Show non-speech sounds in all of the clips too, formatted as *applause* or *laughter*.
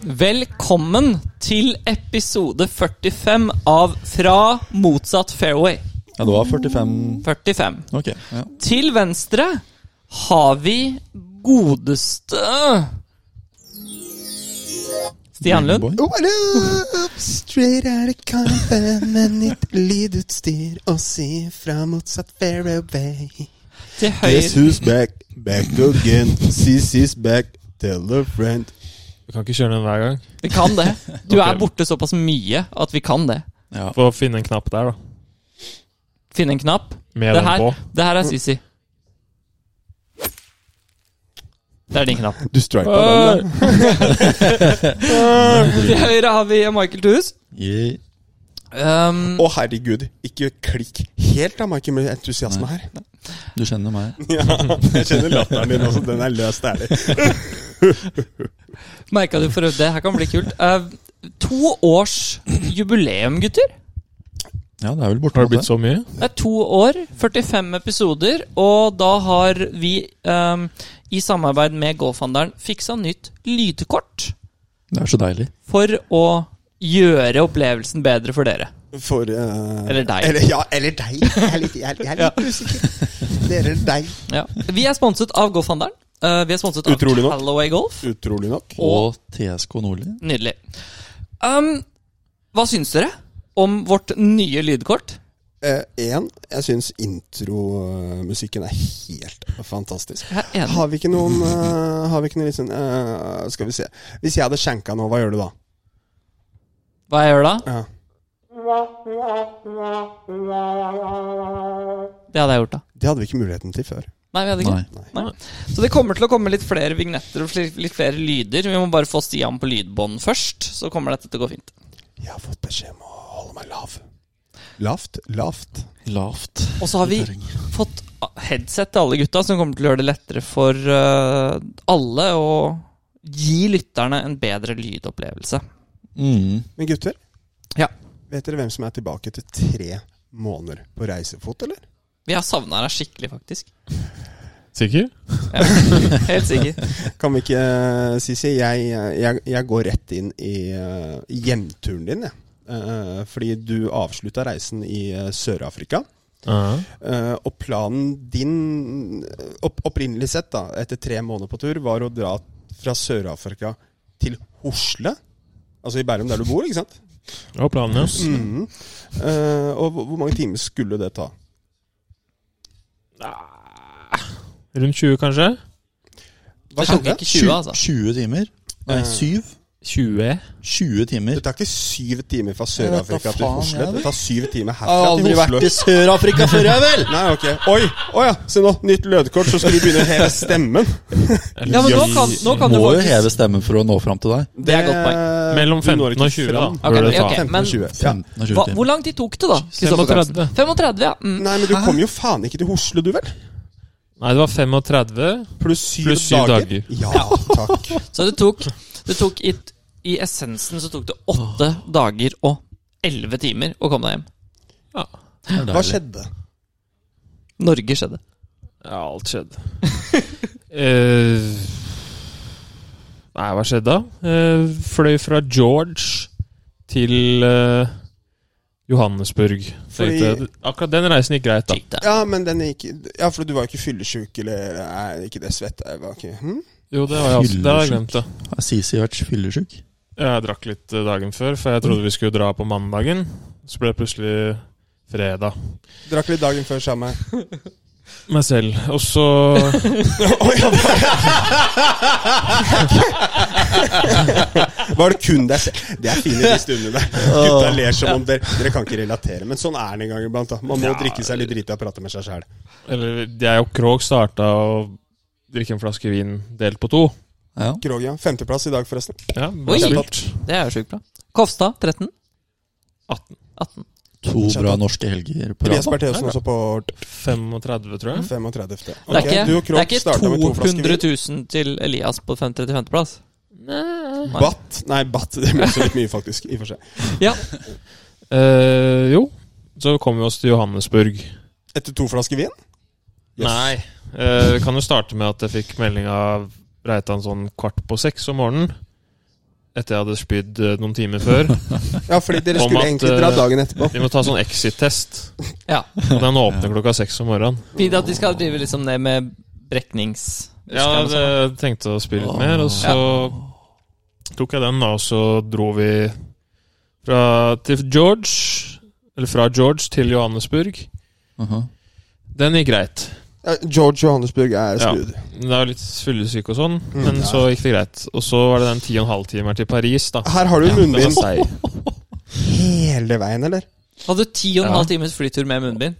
Velkommen til episode 45 av Fra motsatt fairway. Ja, det var 45 45. Ok. Ja. Til venstre har vi godeste Stian Lund. Boy. Oh, hello! Straight out of campen med nytt lydutstyr og si fra motsatt fairway. Til Guess høyre who's back, back again. CC's back, tell a friend. Du kan ikke kjøre den hver gang. Vi kan *laughs* det. Du er Ok. borte såpass mye at vi kan det. Ja. Få finne en knapp der, da. Finn en knapp. Med Det den her, på. det her er Sisi. Det er din knapp. Du stripa den, da. Til høyre har vi Michael Thues. Yeah. Um, Å, herregud. Ikke klikk helt, da, Michael, med entusiasme her. Du kjenner *laughs* meg. Jeg kjenner latteren din også. Den er løst ærlig. Merka du for øvrig Det her kan bli kult. Eh, to års jubileum, gutter. Ja, det er vel borte. Har det blitt så mye? Det er to år, 45 episoder, og da har vi eh, i samarbeid med Golfhandelen fiksa nytt lydkort Det er så deilig. for å gjøre opplevelsen bedre for dere. For eh, Eller deg. Eller, ja, eller deg. Jeg er litt, jeg er, jeg er litt usikker. Dere eller deg. Ja. Vi er sponset av Golfhandelen. Eh, vi er sponset av Utrolig nok. Callaway Golf. Utrolig nok. Og TSK Nordli. Nydelig. Um, hva syns dere om vårt nye lydkort? Én, Eh, jeg syns intromusikken er helt fantastisk. Jeg er enig. Har vi ikke noen eh, Har vi ikke noen litt sånn eh, Skal vi se. Hvis jeg hadde skjenka nå, hva gjør du da? Hva jeg gjør da? Ja. Det hadde jeg gjort, da. Det hadde vi ikke muligheten til før. Nei, vi hadde ikke. Nei. Nei. Så det kommer til å komme litt flere vignetter og fl- litt flere lyder. Vi må bare få Stian på lydbånd først, så kommer dette til å gå fint. Jeg har fått beskjed om å holde meg lav. Lavt, lavt. Lavt. Og så har vi terreng. fått a- headset til alle gutta, som kommer til å gjøre det lettere for eh, alle å gi lytterne en bedre lydopplevelse. Mm. Men gutter, Ja. vet dere hvem som er tilbake til tre måneder på reisefot, eller? Vi har savna deg skikkelig, faktisk. Sikker? Ja. Helt *laughs* sikker. Kan vi ikke Sisi, jeg, jeg, jeg går rett inn i eh, hjemturen din, jeg. Eh, Fordi du avslutta reisen i eh, Sør-Afrika. Ja. Eh, og planen din, eh, opp, opprinnelig sett, da, etter tre måneder på tur, var å dra fra Sør-Afrika til Hosle. Altså i Bærum, der du bor, ikke sant? Det var planen, ja. Mm. Mhm. Eh, og hvor hvor mange timer skulle det ta? Rundt 20, kanskje? Hva Det tok skjedde? ikke 20, altså. 20 timer? Nei, Eh. 7? 20? 20 timer. Det tar ikke syv timer fra Jeg Sør-Afrika vet da til faen, Hosle. jeg, Det tar syv timer Jeg har herfra til aldri vært i Hosle. Sør-Afrika før, jeg vel! Nei, ok. Oi! Å ja, se nå. Nytt lødkort, så skal de begynne å heve stemmen. Ja, men nå kan, nå kan du Må jo faktisk- heve stemmen for å nå fram til deg. Det er godt poeng. Eh, Mellom du når 15 og ikke 20, da. fram. Ok, Burde det ta. ok. 15 men- og 20. Ja. 15 og 20 Hva, timer. hvor lang tid tok det, da? Kristoffer Karlsen? 35. 35, ja. Mm. Nei, men du kom jo faen ikke til Hosle, du vel? Nei, det var 35. Pluss syv, Pluss syv dager. Ja, takk. Så det tok, det tok i, I essensen så tok det åtte dager og elleve timer å komme deg hjem. Det er deilig. Hva skjedde? Norge skjedde. Ja, alt *laughs* skjedde. Eh, nei, hva skjedde da? Eh, fløy fra George til eh, Johannesburg. Fordi- Tenkte, akkurat den reisen gikk greit, da. Slik det. Ja, men den gikk Ja, for du var jo ikke fyllesyk, eller nei, ikke det svett jeg var ikke, hm? Jo, det har jeg, også- det har jeg glemt, da. Har Sisi vært fyllesyk? Jeg drakk litt eh, dagen før, for jeg trodde vi skulle dra på mandagen. Så ble det plutselig fredag Drakk litt dagen før sammen. meg selv. Og så *laughs* Var det kun deg selv? Det er fine de stundene der. Gutta ler som om dere Dere kan ikke relatere, men sånn er det en gang iblant. da Man må drikke seg litt drita og prate med seg sjæl. Eller jeg og Krog starta å drikke en flaske vin delt på to. Ja. Krog, ja. Femteplass i dag, forresten. Ja, Oi. bra spilt. Det er jo sjukt bra. Kofstad 13. 18. 18. To bra norske helger på Tobias rad. Bertheussen også på 35, tror jeg. 35. Det er Ok, ikke, du og det er Krog ikke starta med to 200 flasker vin. 000 til Elias på 35.-plass. Batt Nei, batt. *laughs* Det blir også litt mye, faktisk. I og for seg. Ja. Eh, jo, så kom vi oss til Johannesburg. Etter to flasker vin? Yes. Nei. Eh, vi kan jo starte med at jeg fikk melding av Reitan sånn kvart på seks om morgenen. etter jeg hadde spydd eh, noen timer før. Ja, fordi dere Om skulle at, egentlig dra eh, dagen etterpå. Vi må ta sånn exit-test. Ja. Og den åpner klokka seks om morgenen. Fordi at de skal drive liksom ned med breknings... Ja, jeg tenkte å spille litt mer, og så tok jeg den, da, og så dro vi fra, til George, eller fra George til Johannesburg. Aha. Den gikk greit. Ja, George Johannesburg er Ja. skrud. Det er jo litt fyllesyk og sånn, Mm. men så gikk det greit. Og så var det den ti og en halv timer til Paris, da. Her har du Den var munnbind seig. hele veien, eller? Hadde du ti og en Ja. halv times flytur med munnbind?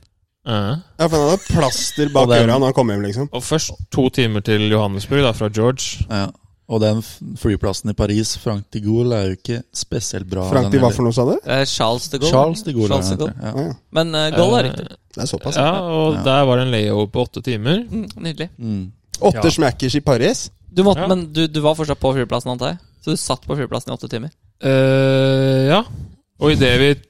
Ja. Ja, for han hadde plaster bak Og den- øra når han kom hjem, liksom. Og først to timer til Johannesburg, da, fra George. Ja. Og den f- flyplassen i Paris, Frank de Gaulle, er jo ikke spesielt bra. Frank, den de hva heller. for noe, sa du? Eh, Charles de Gaulle. Charles de Gaulle. Charles de er den Gaulle. heter, Ja. ja. Men uh, Gaulle er Eh, riktig. Det er såpass. Ja, og Ja. der var det en layover på åtte timer. Mm, nydelig. ja. Mm. Åtte Ja. smackers i Paris. Du måtte, Ja. Men du, du var fortsatt på flyplassen, antar jeg? Så du satt på flyplassen i åtte timer? Eh, ja. Og idet vi Hvor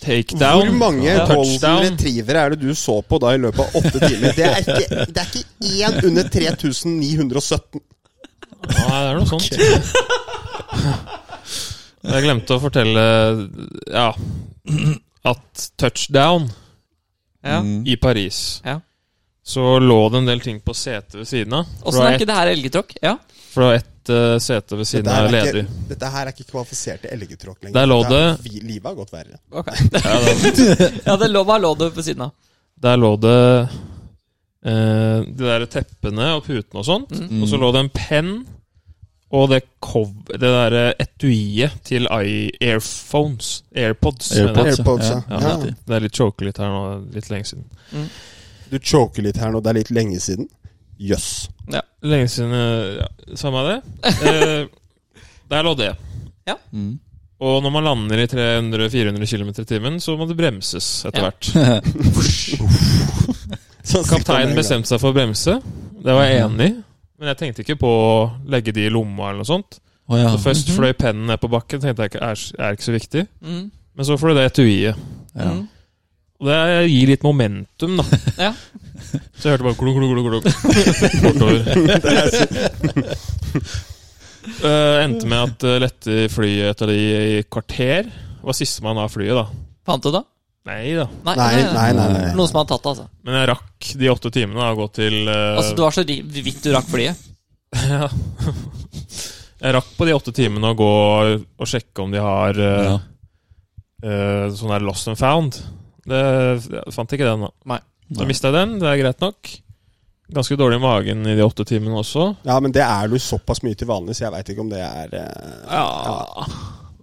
takedown mange Ja. golden Touchdown. retrievere er det du så på da i løpet av åtte timer? Det er ikke, det er ikke én under 3917. Nei, det er *laughs* noe sånt. Jeg glemte å fortelle ja, at touchdown Ja. Mm. i Paris Ja. Så lå det en del ting på setet ved siden av. For det Åssen var er ikke det her elgetråkk? Ja. ett- For det var ett eh, sete ved siden Dette her av er ledig. ikke, dette her er ikke kvalifisert til elgetråkk lenger. Der lå Dette er- vi- Livet har gått verre. Ok. *laughs* ja, det lå, hva lå du ved siden av? Der lå det eh, de der teppene og putene og sånn. sånt. Mm. Og så lå det en penn og det, kov- det derre etuiet til i Airphones. Airpods. mener jeg. Airpods, ja. Airpods, ja. Ja, Ja. riktig. Det er litt choke litt her nå, litt lenge siden. Du choker litt her nå, det er litt lenge siden. Jøss. Lenge siden eh, ja, Samme det. Eh, der lå det. Mm. Og når man lander i 300-400 km i timen, så må det bremses etter Ja. hvert. *laughs* Sånn sitter han Kapteinen en gang. bestemte seg for å bremse. Det var jeg enig i. Men jeg tenkte ikke på å legge de i lomma eller noe sånt. Å, ja. Så først Mhm. fløy pennen ned på bakken, tenkte jeg ikke er, er ikke så viktig. Mm. Men så fløy det etuiet. Ja. Mm. Og det gir litt momentum, da. *laughs* Ja. Så jeg hørte bare klunk, klunk, klunk, klunk. *laughs* bortover. Eh, endte med at det lette flyet etter de i kvarter. Var sistemann av flyet, da. Fant du det? Nei da. Nei, nei, nei. nei. Noen som hadde tatt det, altså. Men jeg rakk de åtte timene da, å gå til eh, Altså, Det var så ri- vidt du rakk flyet. Ja. Jeg rakk på de åtte timene å gå og sjekke om de har eh, Ja. eh, sånn der lost and found. Det, jeg fant ikke den, da. Da Nei. mista jeg den, det er greit nok. Ganske dårlig i magen i de åtte timene også. Ja, men det er du såpass mye til vanlig, så jeg veit ikke om det er eh, Ja.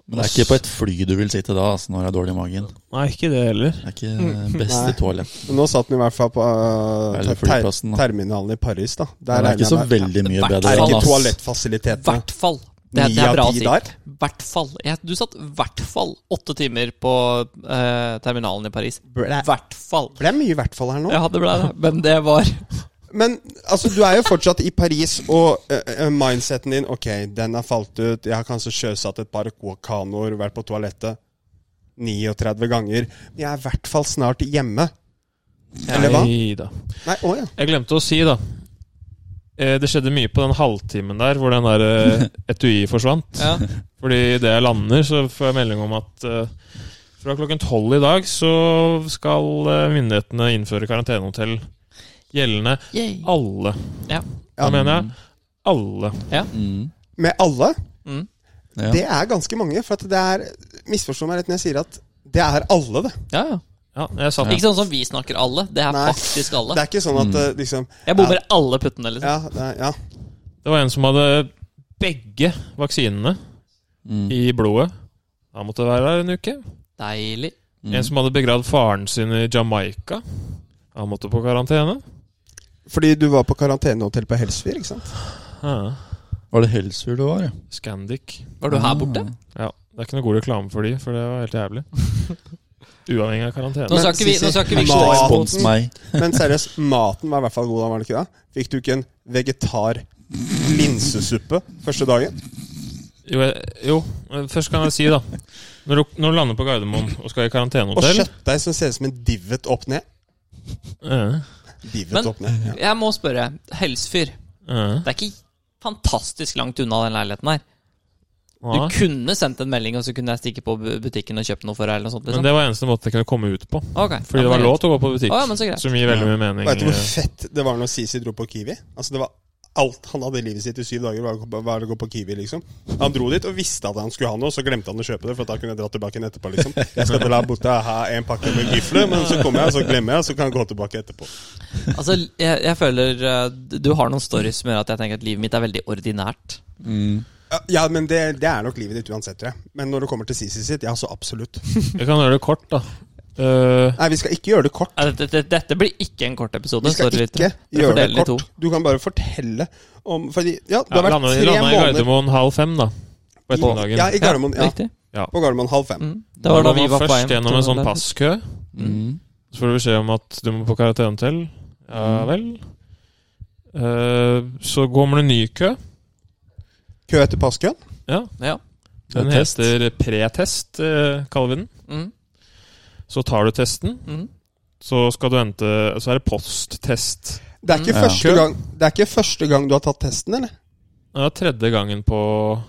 Men det er ikke på et fly du vil sitte da, altså, når du har dårlig i magen. Nei, ikke det heller. Det er ikke eh, beste Mm. Nei. toalett. Men Nå satt den i hvert fall på eh, Eller ter flyplassen, da. terminalen i Paris, da. Der Det er regner ikke så jeg med- veldig mye Hvert bedre. Er fall, ikke enn oss. I toalettfasilitetene hvert fall. Det, er- Ni det av er bra å ti si. der? Hvert fall. Jeg, du satt i hvert fall åtte timer på eh, terminalen i Paris. Blæ. Hvert fall. For det er mye i hvert fall her nå. Ja, det ble det. Men det var Men altså, du er jo fortsatt i Paris, og eh, eh, mindseten din Ok, den har falt ut, jeg har kanskje sjøsatt et par kanoer, vært på toalettet 39 ganger. Men jeg er i hvert fall snart hjemme. Eller hva? Neida. Nei, å ja. Jeg glemte å si, da. Eh, Det skjedde mye på den halvtimen der hvor den der eh, etui forsvant. ja. Fordi idet jeg lander, så får jeg melding om at eh, fra klokken tolv i dag så skal eh, myndighetene innføre karantenehotell gjeldende Yay. alle. Ja. Hva mener jeg? Alle. Mm. Med alle? Mm. Ja. Det er ganske mange. For at det er Misforstå meg rett når jeg sier at det er alle, det. ja, ja. Ja, jeg satt Ikke sånn som vi snakker alle. Det er Nei. faktisk Det alle. er ikke sånn at Mm. eh, liksom Jeg bommer alle puttene, liksom. Ja, det er, ja. Det var en som hadde begge vaksinene Mm. i blodet. Han måtte være her en uke. Deilig. Mm. En som hadde begravd faren sin i Jamaica. Han måtte på karantene. Fordi du var på karantenehotell på Helsfyr, ikke sant? Ah, Var det Helsfyr du var, ja? Mm. Scandic. Var Ah. du her borte? Ja, det er ikke noe god reklame for de, for det var helt jævlig. Uavhengig Nå av karantene. skal ikke vi, nå skal ikke vi Hashtag Nei. Spons Maten. meg. Men seriøst, maten var i hvert fall god da, var den ikke det? Fikk du ikke en vegetar linsesuppe første dagen? Jo, jeg, jo, men først kan jeg si, da Når du, når du lander på Gardermoen og skal i Og karantenehotell kjøttdeig som ser ut som en divot opp ned. eh, Divot Men- opp ned. Ja. Jeg må spørre. Helsfyr. eh, Det er ikke fantastisk langt unna den leiligheten her. Du Nei. kunne sendt en melding, og så kunne jeg stikke på bu- butikken og kjøpt noe for deg. eller noe sånt Men liksom. det var eneste måten jeg kunne komme ut på. Ok. Fordi Ja, det var men lov greit. til å gå på butikk. Å, ja, men så greit. Som gir veldig mye mening. Veit du hvor eh, fett det var når Sisi dro på Kiwi? Altså det var Alt han hadde i livet sitt i syv dager, var å- var å gå på Kiwi, liksom. Han dro dit og visste at han skulle ha noe, så glemte han å kjøpe det, for at da kunne jeg dra tilbake igjen etterpå, liksom. Jeg skal til La Bota ha en pakke med gifle, men så kommer jeg, så glemmer jeg, så kan jeg gå tilbake etterpå. Altså, jeg, jeg føler eh, du- Du har noen stories som gjør at jeg tenker at livet mitt er veldig ordinært. Mm. Ja, Ja, men det, det er nok livet ditt uansett, tror jeg. Men når det kommer til Sisi sitt, ja, så absolutt. Jeg kan gjøre det kort, da. Eh, Nei, vi skal ikke gjøre det kort. Ja, Dette, dette, dette blir ikke en kort episode. Vi skal sorry, ikke lyttere. Dere gjøre det fordeler i to. kort. Du kan bare fortelle om Fordi, ja, det ja, har vært landa, tre landa i måneder Gardermoen halv fem, da. På i- Ja, ettermiddagen. i Gardermoen. Ja, Riktig. på Gardermoen halv fem. Mm. Det var da vi man var på først veien. gjennom en sånn til- passkø. Mm. Så får du beskjed om at du må på karantenehotell. Mm. Ja vel. Eh, så kommer det en ny kø. Kø etter passkøen. Ja, Ja. Den Det er test. heter pretest, eh, kaller vi den. Mm. Så tar du testen. Mm. Så skal du vente Så er det posttest. Det er, ikke Mm. første Ja. gang, det er ikke første gang du har tatt testen, eller? Det er tredje gangen på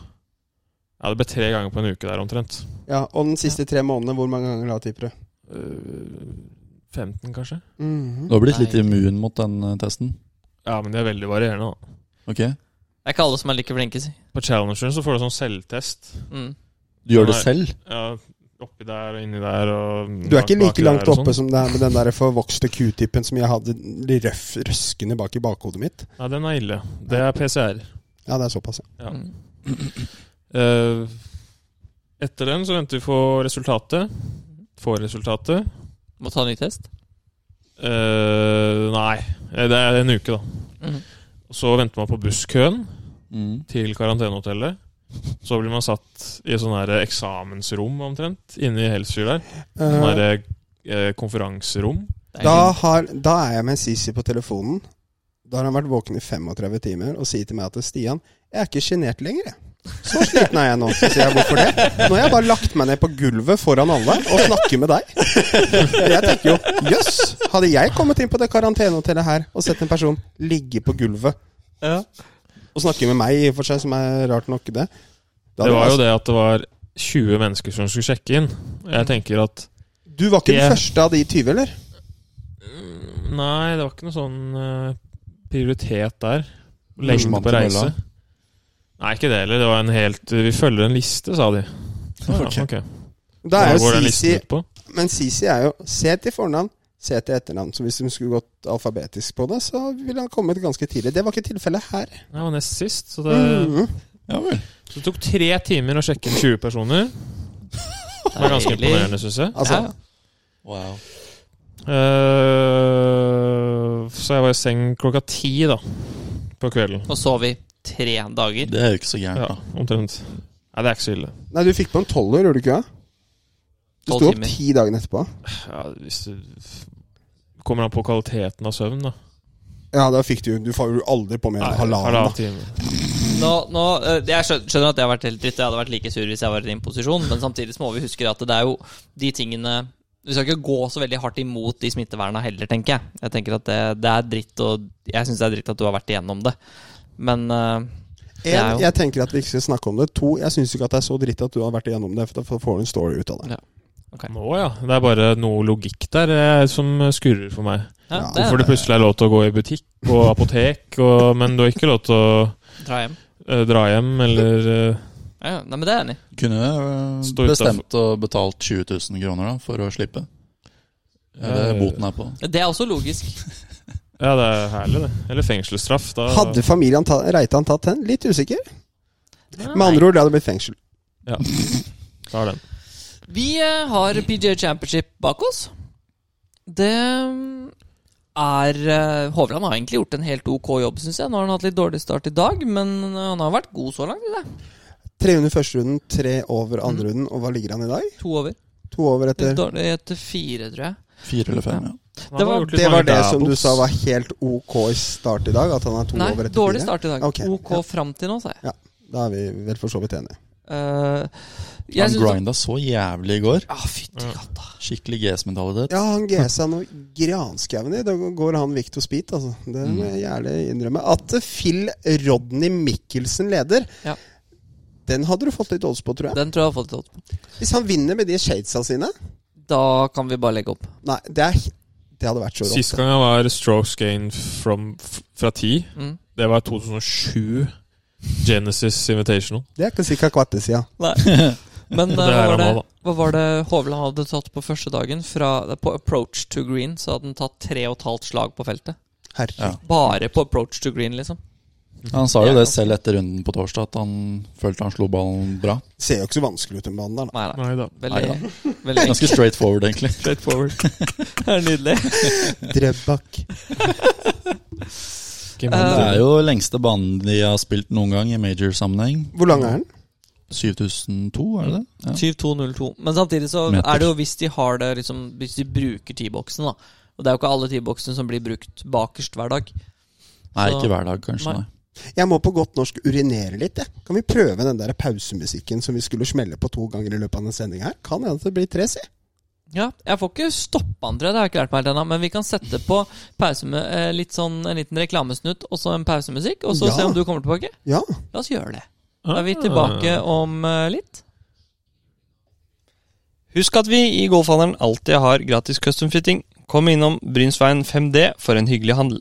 Ja, det ble tre ganger på en uke der omtrent. Ja, Og den siste tre månedene, hvor mange ganger da, tipper du? Eh, 15, kanskje? Mhm. Du har blitt litt Nei. immun mot den eh, testen? Ja, men de er veldig varierende, da. Ok? Det er ikke alle som er like flinke, si. På Challengeren så får du sånn selvtest. Mm. Du gjør det Nei. selv? Ja, oppi der og inni der og Du er ikke bak- like baki langt der og oppe sånn. som det er med den der forvokste q-tippen som jeg hadde de røff, røskende bak i bakhodet mitt. Nei, den er ille. Det er PCR. Ja, det er såpass. ja. Ja. Mm. Eh, etter den så venter vi på resultatet. Får resultatet. Må ta en ny test. Eh, nei, det er en uke, da. Mm. Så venter man på busskøen Mm. til karantenehotellet. Så blir man satt i sånn her eksamensrom omtrent, inne i Helsfyr der. Eh, Sånn her, eh, konferanserom. Det er da, egentlig- har, da er jeg med Sisi på telefonen. Da har han vært våken i 35 timer og sier til meg at Stian, jeg er ikke sjenert lenger, jeg. Så sliten er jeg nå. Så sier jeg hvorfor det? Nå har jeg bare lagt meg ned på gulvet foran alle og snakker med deg. Jeg tenker jo jøss, hadde jeg kommet inn på det karantenehotellet her og sett en person ligge på gulvet og snakke med meg, i og for seg, som er rart nok, det Da Det hadde var jo jeg- det at det var 20 mennesker som skulle sjekke inn. Jeg tenker at Du var ikke den Det- første av de 20, eller? Nei, det var ikke noe sånn eh, prioritet der. Førstemann Lengde på Mm. til reise. mølla. Nei, ikke det heller. Det var en helt Vi følger en liste, sa de. Ja, Ok. ok. Da er Hva jo går den listen Sisi ut på? Men Sisi er jo C til fornavn, C til etternavn. Så hvis de skulle gått alfabetisk på det, så ville han kommet ganske tidlig. Det var ikke tilfellet her. Det var nest sist, så det, eh, Mhm. Ja vel. så det tok tre timer å sjekke inn 20 personer. Det var ganske Deilig. imponerende, syns jeg. Altså, Ja, ja. Wow. Eh, så jeg var i seng klokka ti, da. På kvelden. Og sov i tre dager. Det er jo ikke så gærent, Ja, da. omtrent. Nei, det er ikke så ille. Nei, du fikk på en tolver, gjorde du ikke det? Du Tolv sto opp timer. ti dager etterpå. Ja, hvis du Kommer an på kvaliteten av søvn, da. Ja, da fikk du Du får jo aldri på mer enn halvannen. Halvannen da. time. Nå, nå, eh, jeg skjø- skjønner at jeg har vært helt dritt. Jeg hadde vært like sur hvis jeg var i din posisjon. Men samtidig så må vi huske at det er jo de tingene Vi skal ikke gå så veldig hardt imot de smitteverna heller, tenker jeg. Jeg tenker at det, det er dritt, og jeg syns det er dritt at du har vært igjennom det. Men eh, det er En, jo jeg tenker at vi ikke skal snakke om det. To, jeg syns ikke at det er så dritt at du har vært igjennom det, for da får du en story ut av det. Ok. Nå, ja. Det er bare noe logikk der eh, som skurrer for meg. ja, Ja, det Hvorfor det plutselig er lov til å gå i butikk og apotek, og, men du har ikke lov til å Dra hjem. eh, dra hjem eller eh, Ja, ja. Nei, men det er jeg enig i. Kunne eh, Stå utenfor. bestemt og betalt 20 000 kroner da, for å slippe. Ja, det er boten er på. Det er også logisk. Ja, det er herlig, det. Eller fengselsstraff. Da Hadde familien ta, Reitan tatt den? Litt usikker. Med Nei. andre ord, det hadde blitt fengsel. tar den. Vi eh, har PGA Championship bak oss. Det er eh, Hovland har egentlig gjort en helt ok jobb, syns jeg. Nå har han hatt litt dårlig start i dag, men eh, han har vært god så langt. synes jeg. Tre under førsterunden, tre over andrerunden, og hva ligger han i dag? To over. To over Litt etter dårlig etter fire, tror jeg. Fire eller fem, ja. Det Han har var- gjort litt Det var mange det som du doubles. sa var helt ok i start i dag? At han er to Nei, over etter dårlig fire? start i dag. Ok, Ok ja. fram til nå, sa jeg. Da er vi vel for så vidt enige. Eh, jeg Han synes grinda så jævlig i går. Ja, fytti katta. Skikkelig GS-mentalitet. Ja, han GS er noe granskauen i. Da går han Victor Speed, altså. Det Mm. må jeg gjerne innrømme. At Phil Rodney Mikkelsen leder, Ja. Den hadde du fått litt odds på, tror jeg. Den tror jeg har fått litt odd. Hvis han vinner med de shadesa sine Da kan vi bare legge opp. Nei, det, er, det hadde vært så rått. Sist gang jeg var strokes gain from, f- fra 10, Mm. det var 2007. Genesis Invitational. Det er ikke sikkert kvarte sida. Nei. Men eh, hva, Det er var han også, det, hva var det Hovland hadde tatt på første dagen? Fra, eh, på approach to green så hadde han tatt tre og et halvt slag på feltet. Ja. Herregud. Bare på approach to green, liksom. Han sa jo Ja. det selv etter runden på torsdag, at han følte han slo *laughs* ballen bra. Ser jo ikke så vanskelig ut, den banen der. da. Nei, nei. Nei da. Veldig, Nei, veldig enkelt. *laughs* Ganske straight forward, egentlig. Straight forward. Det er nydelig. *laughs* Drøbak. Det Eh, er jo lengste banen de har spilt noen gang i major-sammenheng. Hvor lang er den? 7002, er det det? 7202. Men samtidig så Meter. er det jo hvis de har det liksom Hvis de bruker T-boksen, da. Og det er jo ikke alle T-boksene som blir brukt bakerst hver dag. Nei, Så- ikke hver dag, kanskje. Nei. Nei. Jeg må på godt norsk urinere litt, jeg. Kan vi prøve den der pausemusikken som vi skulle smelle på to ganger i løpet av den sendinga her? Kan hende det blir tre, si. Ja, Jeg får ikke stoppa andre, det har jeg ikke lært meg helt ennå. Men vi kan sette på pause med eh, litt sånn, en liten reklamesnutt og så en pausemusikk. Og så Ja. se om du kommer tilbake. Ja. La oss gjøre det. Da Eh, er Ah. vi tilbake om eh, litt. Husk at vi i Golfhandelen alltid har gratis custom fitting. Kom innom Brynsveien 5D for en hyggelig handel.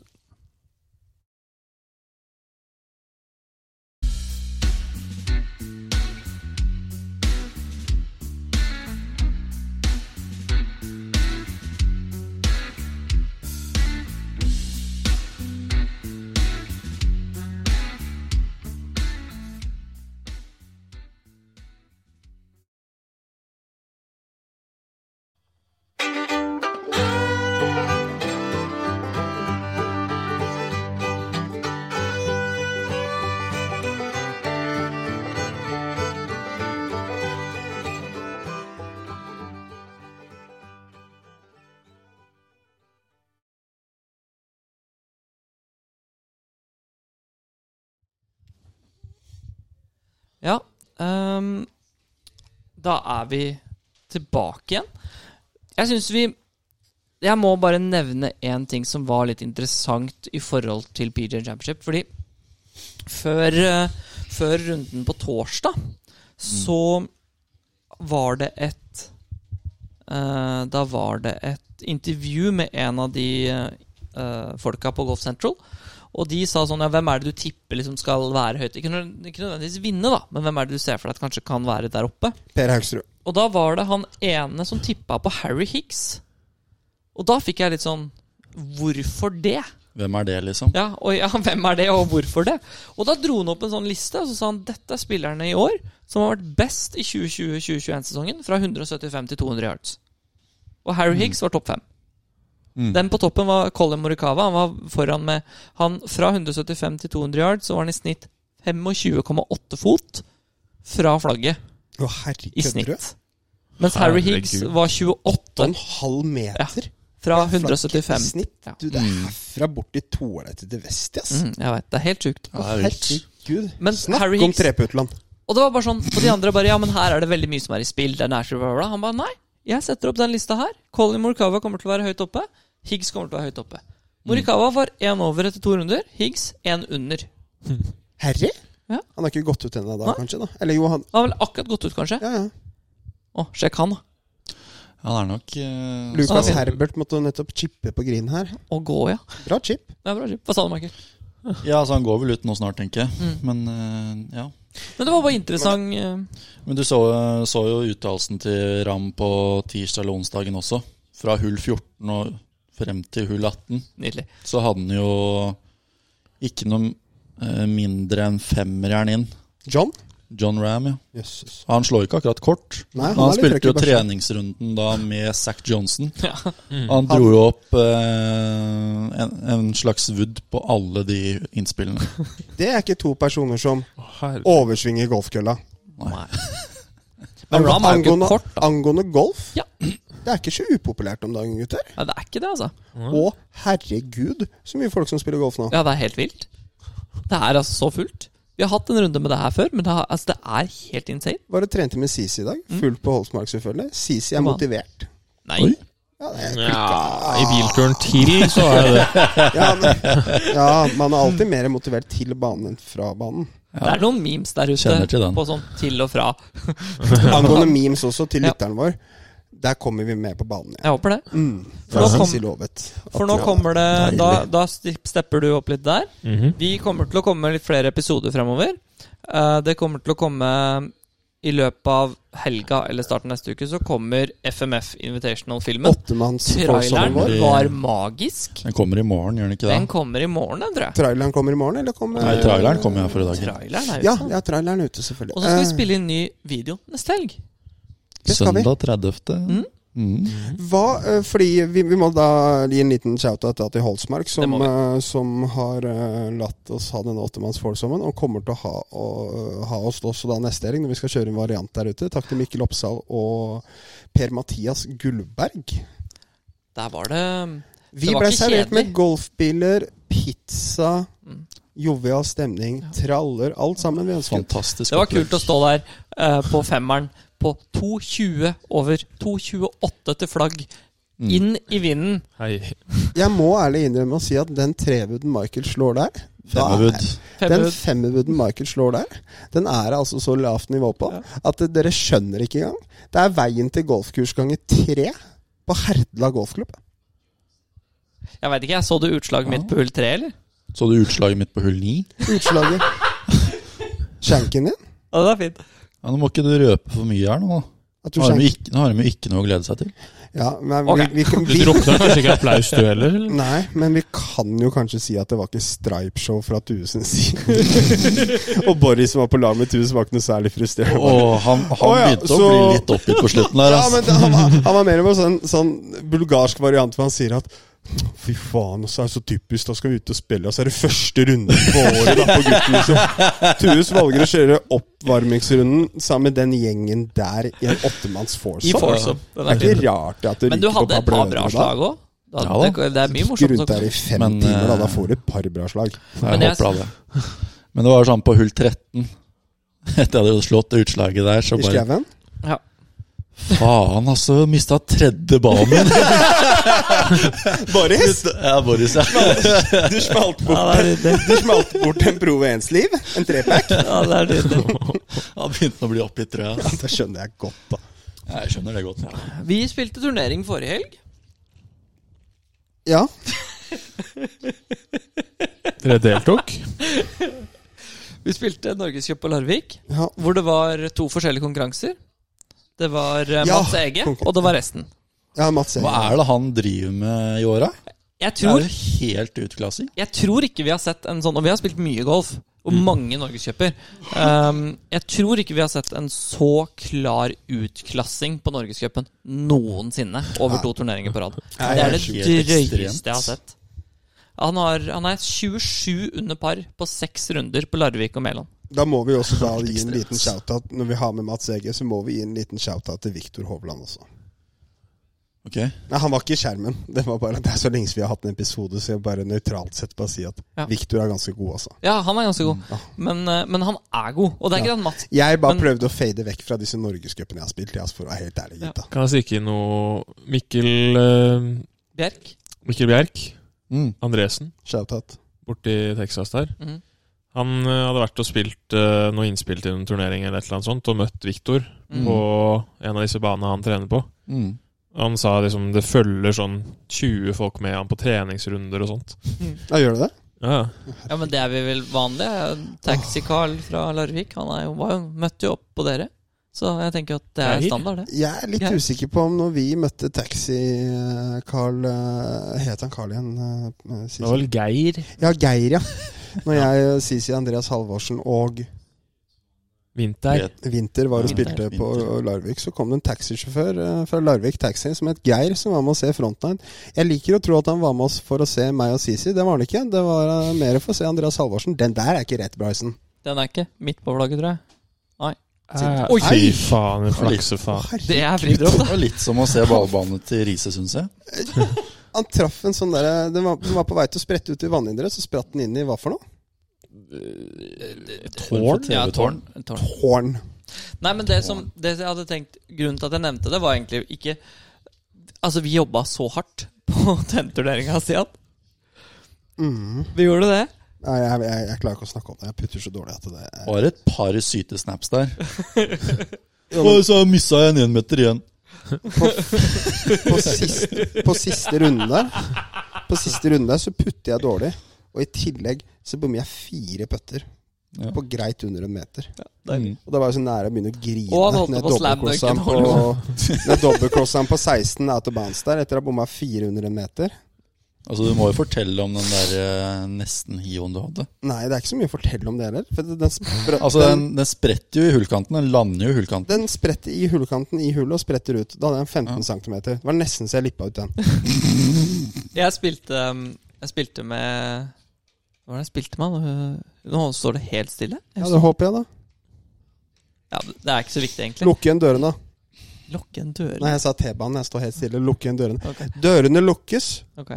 Ja. ehm, da er vi tilbake igjen. Jeg syns vi Jeg må bare nevne én ting som var litt interessant i forhold til PJ Championship. Fordi før, eh, før runden på torsdag så var det et eh, Da var det et intervju med en av de eh, eh, folka på Golf Central. Og de sa sånn ja, Hvem er det du tipper liksom skal være høyt? Ikke nød- ikke nødvendigvis vinne, da, men hvem er det du ser for deg at kanskje kan være der oppe? Per Haugsrud. Og da var det han ene som tippa på Harry Hicks. Og da fikk jeg litt sånn Hvorfor det? Hvem er det, liksom? Ja, og ja, *laughs* hvem er det, og hvorfor det? Og da dro han opp en sånn liste, og så sa han dette er spillerne i år som har vært best i 2020-2021-sesongen, fra 175 til 200 yards. Og Harry Higgs var topp fem. Mm. Den på toppen var Colin Morikawa. Han var foran med han fra 175 til 200 yards, så var han i snitt 25,8 fot fra flagget Å, herregud. i snitt. Mens Harry Higgs Herregud. var 28 En halv meter. fra I 175. snitt. Ja. Du, det er herfra bort til toalettet til vest, ass. Mm, jeg vet, det er helt sjukt. Å, det er vilt. herregud. Men Snakk Harry om Higgs treputland. Og det var bare sånn, og de andre bare Ja, men her er det veldig mye som er i spill. Det er nærspill, bla, bla, bla. Han bare nei, jeg setter opp den lista her. Colin Morikawa kommer til å være høyt oppe. Higgs kommer til å være høyt oppe. Morikawa var én over etter to runder. Higgs én under. Harry? Ja. Han har ikke gått ut ennå, da, Nei. kanskje? da Eller jo, han Han har vel akkurat gått ut, kanskje? Ja, ja. Å, sjekk han, da. Han er nok eh, Lucas Så- Herbert måtte nettopp chippe på green her. Å gå, ja. Bra chip. Det er bra. Hva sa du, Michael? Ja, altså han går vel ut nå snart, tenker jeg. Mm. Men eh, ja. Men det var bare interessant. eh, Men du så, så jo uttalelsen til Ram på tirsdag eller onsdagen også. Fra hull 14 og frem til hull 18 Nydelig. så hadde han jo ikke noe eh, mindre enn femmerjern inn. John? John Ram, ja. Jøsses. Han slår ikke akkurat kort. Nei, Han, er litt spilte jo trøkk i børsa. treningsrunden da med Zack Johnson. *laughs* Ja. Mm. Han dro jo opp eh, en, en slags wood på alle de innspillene. Det er ikke to personer som Herregud. oversvinger golfkølla. Nei. Men Rahm er jo ikke angående, kort, da. angående golf Ja. Det er ikke så upopulært om dagen, gutter. Nei, det er ikke det, altså. Å, herregud, så mye folk som spiller golf nå. Ja, det er helt vilt. Det er altså så fullt. Vi har hatt en runde med det her før, men det, har, altså, det er helt insane. Bare trente med Sisi i dag. Mm. Fullt på Holsmark, selvfølgelig. Sisi er Hva? motivert. Nei. Oi. Ja, det er, Ja, I bilturen til, så er det det. ja, men, ja, man er alltid mer motivert til banen enn fra banen. Det er noen memes der Kjenner til ute den. på sånn til og fra. Angående memes også, til Ja. lytteren vår. Der kommer vi med på banen igjen. Jeg håper det. Mm. For nå, kom, Sisi lovet. for nå Ja. kommer det Da, Deilig. da stepper du opp litt der. Mhm. Vi kommer til å komme med litt flere episoder fremover. Eh, Det kommer til å komme i løpet av helga eller starten av neste uke, så kommer FMF Invitational-filmen. Åttemanns Traileren vår. var magisk. Den kommer i morgen, gjør den ikke det? Den kommer i morgen, den, tror jeg. Traileren kommer i morgen, eller kommer Nei, traileren kommer jeg for i dag. Traileren er Ja, ute. ja, traileren er ute, selvfølgelig. Og så skal vi Eh, spille inn ny video neste helg. det skal vi. Søndag 30. Mm. Mm. Hva, eh, fordi vi, vi må da gi en liten shout-out da til Holsmark, Det som, må vi. eh, som har eh, latt oss ha denne åttemannsforsommen, og kommer til å ha, å, eh, ha oss også da neste helg når vi skal kjøre en variant der ute. Takk til Mikkel Oppsal og Per-Mathias Gullberg. Der var det Vi Det var ble ikke servert med kjedelig. golfbiler, pizza, Mm. jovial stemning, traller, alt sammen vi ønsket. Fantastisk. Det var opplegg. kult å stå der eh, på femmeren på 2.20 over 2.28 til flagg. Mm. Inn i vinden. Hei. Jeg må ærlig innrømme å si at den trebuden Michael slår der Femmerwood. Den Femmerud. femmerwooden Michael slår der, den er det altså så lavt nivå på at dere skjønner ikke engang. Det er veien til golfkurs ganger tre på Herdla golfklubb. Jeg veit ikke, jeg så du utslaget mitt på hull tre, eller? Så du utslaget mitt på hull 9? Utslaget. Shanken din? Ja, det er fint. Ja, nå må ikke du røpe for mye her nå. da. At du Nå har de shank... jo ikke, nå har de jo ikke noe å glede seg til. Ja, men vi, Ok. vi, kan- Du drukna kanskje ikke applaus, du heller? vi, eller? nei, men vi kan jo kanskje si at det var ikke stripeshow fra Tue sin side. Og Boris som var på lag med Tue, så var ikke noe særlig *laughs* frustrerende. Og han, han Å, ja, begynte å så- bli litt oppgitt på slutten der. Ja, Altså. men det, han, var- han var mer på sånn, sånn bulgarsk variant hvor han sier at Fy faen, altså, det er så typisk. Da skal vi ut og spille, og så er det første runde på året da, på guttehuset. Tues valger å kjøre oppvarmingsrunden sammen med den gjengen der i en åttemanns I foursome. foursome. Den Det er er fin. ikke rart at det Men du ryker på hadde et par Pablo bra Ødegaard da. slag òg. Ja Det, det er mye Gikk morsomt. rundt der også. i fem Men, timer, da. eh, Da får du et par bra slag. Nei, Men jeg jeg- håper det. Men det var sånn på hull 13 *laughs* Etter jeg hadde slått det utslaget der, så I bare skauen. Ja. Faen, altså. Mista tredje ballen *laughs* min. Boris, Ja, Boris, *laughs* ja. du smalt Ja, det er nydelig. du smalt bort en Prove 1-liv. En trepack. Ja, det er nydelig. *laughs* Han begynte å bli oppgitt, tror jeg. Det skjønner jeg godt, da. Ja, Jeg skjønner det godt. Vi spilte turnering forrige helg. Ja. Dere deltok? Vi spilte Norgescup på Larvik, ja. hvor det var to forskjellige konkurranser. Det var eh, Ja, Mats Ege, konkur- og det var resten. Ja, Mats Hva Enger. er det han driver med i åra? Jeg Det er tror, jo helt utklassing. jeg tror ikke vi har sett en sånn Og vi har spilt mye golf, og mange norgescuper. Um, jeg tror ikke vi har sett en så klar utklassing på norgescupen noensinne over to turneringer på rad. Nei, Det er det det er helt drøyeste jeg ekstremt. har sett. Han, har, han er 27 under par på seks runder på Larvik og Mæland. Da må vi også *laughs* da gi en liten shout-out Når vi har med Mats Ege, så må vi gi en liten shout-out til Viktor Hovland også. Ok, Nei, Han var ikke i skjermen. Det var bare det er så lenge siden vi har hatt en episode, så jeg bare nøytralt sett bare si at Ja. Viktor er ganske god, altså. Ja, han er ganske god, men, eh, men han er god. Og det er ikke det at Mats Jeg bare Men- prøvde å fade vekk fra disse norgescupene jeg har spilt, jeg, altså, for å være helt ærlig, Ja. gutta. Kan jeg stikke inn noe Mikkel eh, Bjerk Mikkel Bjerk mm. Andresen Shout-out. borti Texas der. Mhm. Han eh, hadde vært og spilt eh, noe innspill til en turnering eller et eller annet sånt, og møtt Viktor Mhm. Mm. på en av disse banene han trener på. Mm. Han sa liksom det følger sånn 20 folk med han på treningsrunder og sånt. Ja, gjør du det? Ja, Ja, men det er vi vel vanlige. Taxi-Carl fra Larvik Han er jo, var jo, møtte jo opp på dere. Så jeg tenker at det er Hei. standard, det. Jeg er litt Ja. usikker på om når vi møtte Taxi-Carl Het han Carl igjen? eh, Sisi? vel Geir Ja, Geir, *laughs* ja. Når jeg, eh, Sisi, Andreas Halvorsen og Vinter. Vet- Vinter var og Vinter. spilte på Vinter. Larvik. Så kom det en taxisjåfør eh, fra Larvik Taxi som het Geir, som var med å se Frontline. Jeg liker å tro at han var med oss for å se meg og Sisi. Det var han ikke. Det var eh, mer for å se Andreas Halvorsen. Den der er ikke rett, Bryson. Den er ikke midt på flagget, tror jeg. Eh, Oi! Fy faen, en Å, flaksefaen. Det herregud. er fridropp, Det da. var litt som å se ballbane til Riise, syns jeg. Han traff en sånn derre den, var- den var på vei til å sprette ut i vannhinderet, så spratt den inn i hva for noe? Tårn? Ja, tårn. tårn. Horn. Nei, men det som det jeg hadde tenkt Grunnen til at jeg nevnte det, var egentlig ikke Altså, vi *laughs* jobba så hardt på den turneringa, Sian. Mm. Vi gjorde det. Nei, jeg, jeg, jeg klarer ikke å snakke om det. Jeg putter så dårlig at det er Var et par syte snaps der. Og så missa jeg en énmeter igjen. på, på, siste, på siste runde der På siste runde der så putter jeg dårlig. Og i tillegg så bommer jeg fire putter. Ja. På greit under en meter. Mm. Og da var jeg så nære å begynne å grine. Og han holdt når jeg på å slamme dobbeltcrosset han dunken, på- Når jeg dobbeltcrosset han på 16 out of bounds der etter å ha bomma fire under en meter. Altså, du må jo fortelle om den der eh, nesten hioen du hadde. Nei, det er ikke så mye å fortelle om det heller. For den, spr Altså, den, den, den spretter jo i hullkanten. Den lander jo i hullkanten. den spretter i hullkanten i hullet og spretter ut. Da hadde jeg en 15 cm. Det var nesten så jeg lippa ut den. Jeg spilte, um, jeg spilte med Hva var det jeg spilte med? Nå- Nå står det helt stille. Jeg Ja, husker- Det håper jeg, da. Ja, det er ikke så viktig, egentlig. Lukke igjen dørene. Lukke en dør. Nei, jeg sa T-banen. Jeg står helt stille. Lukke igjen dørene. Ok, Dørene lukkes. *laughs* ok.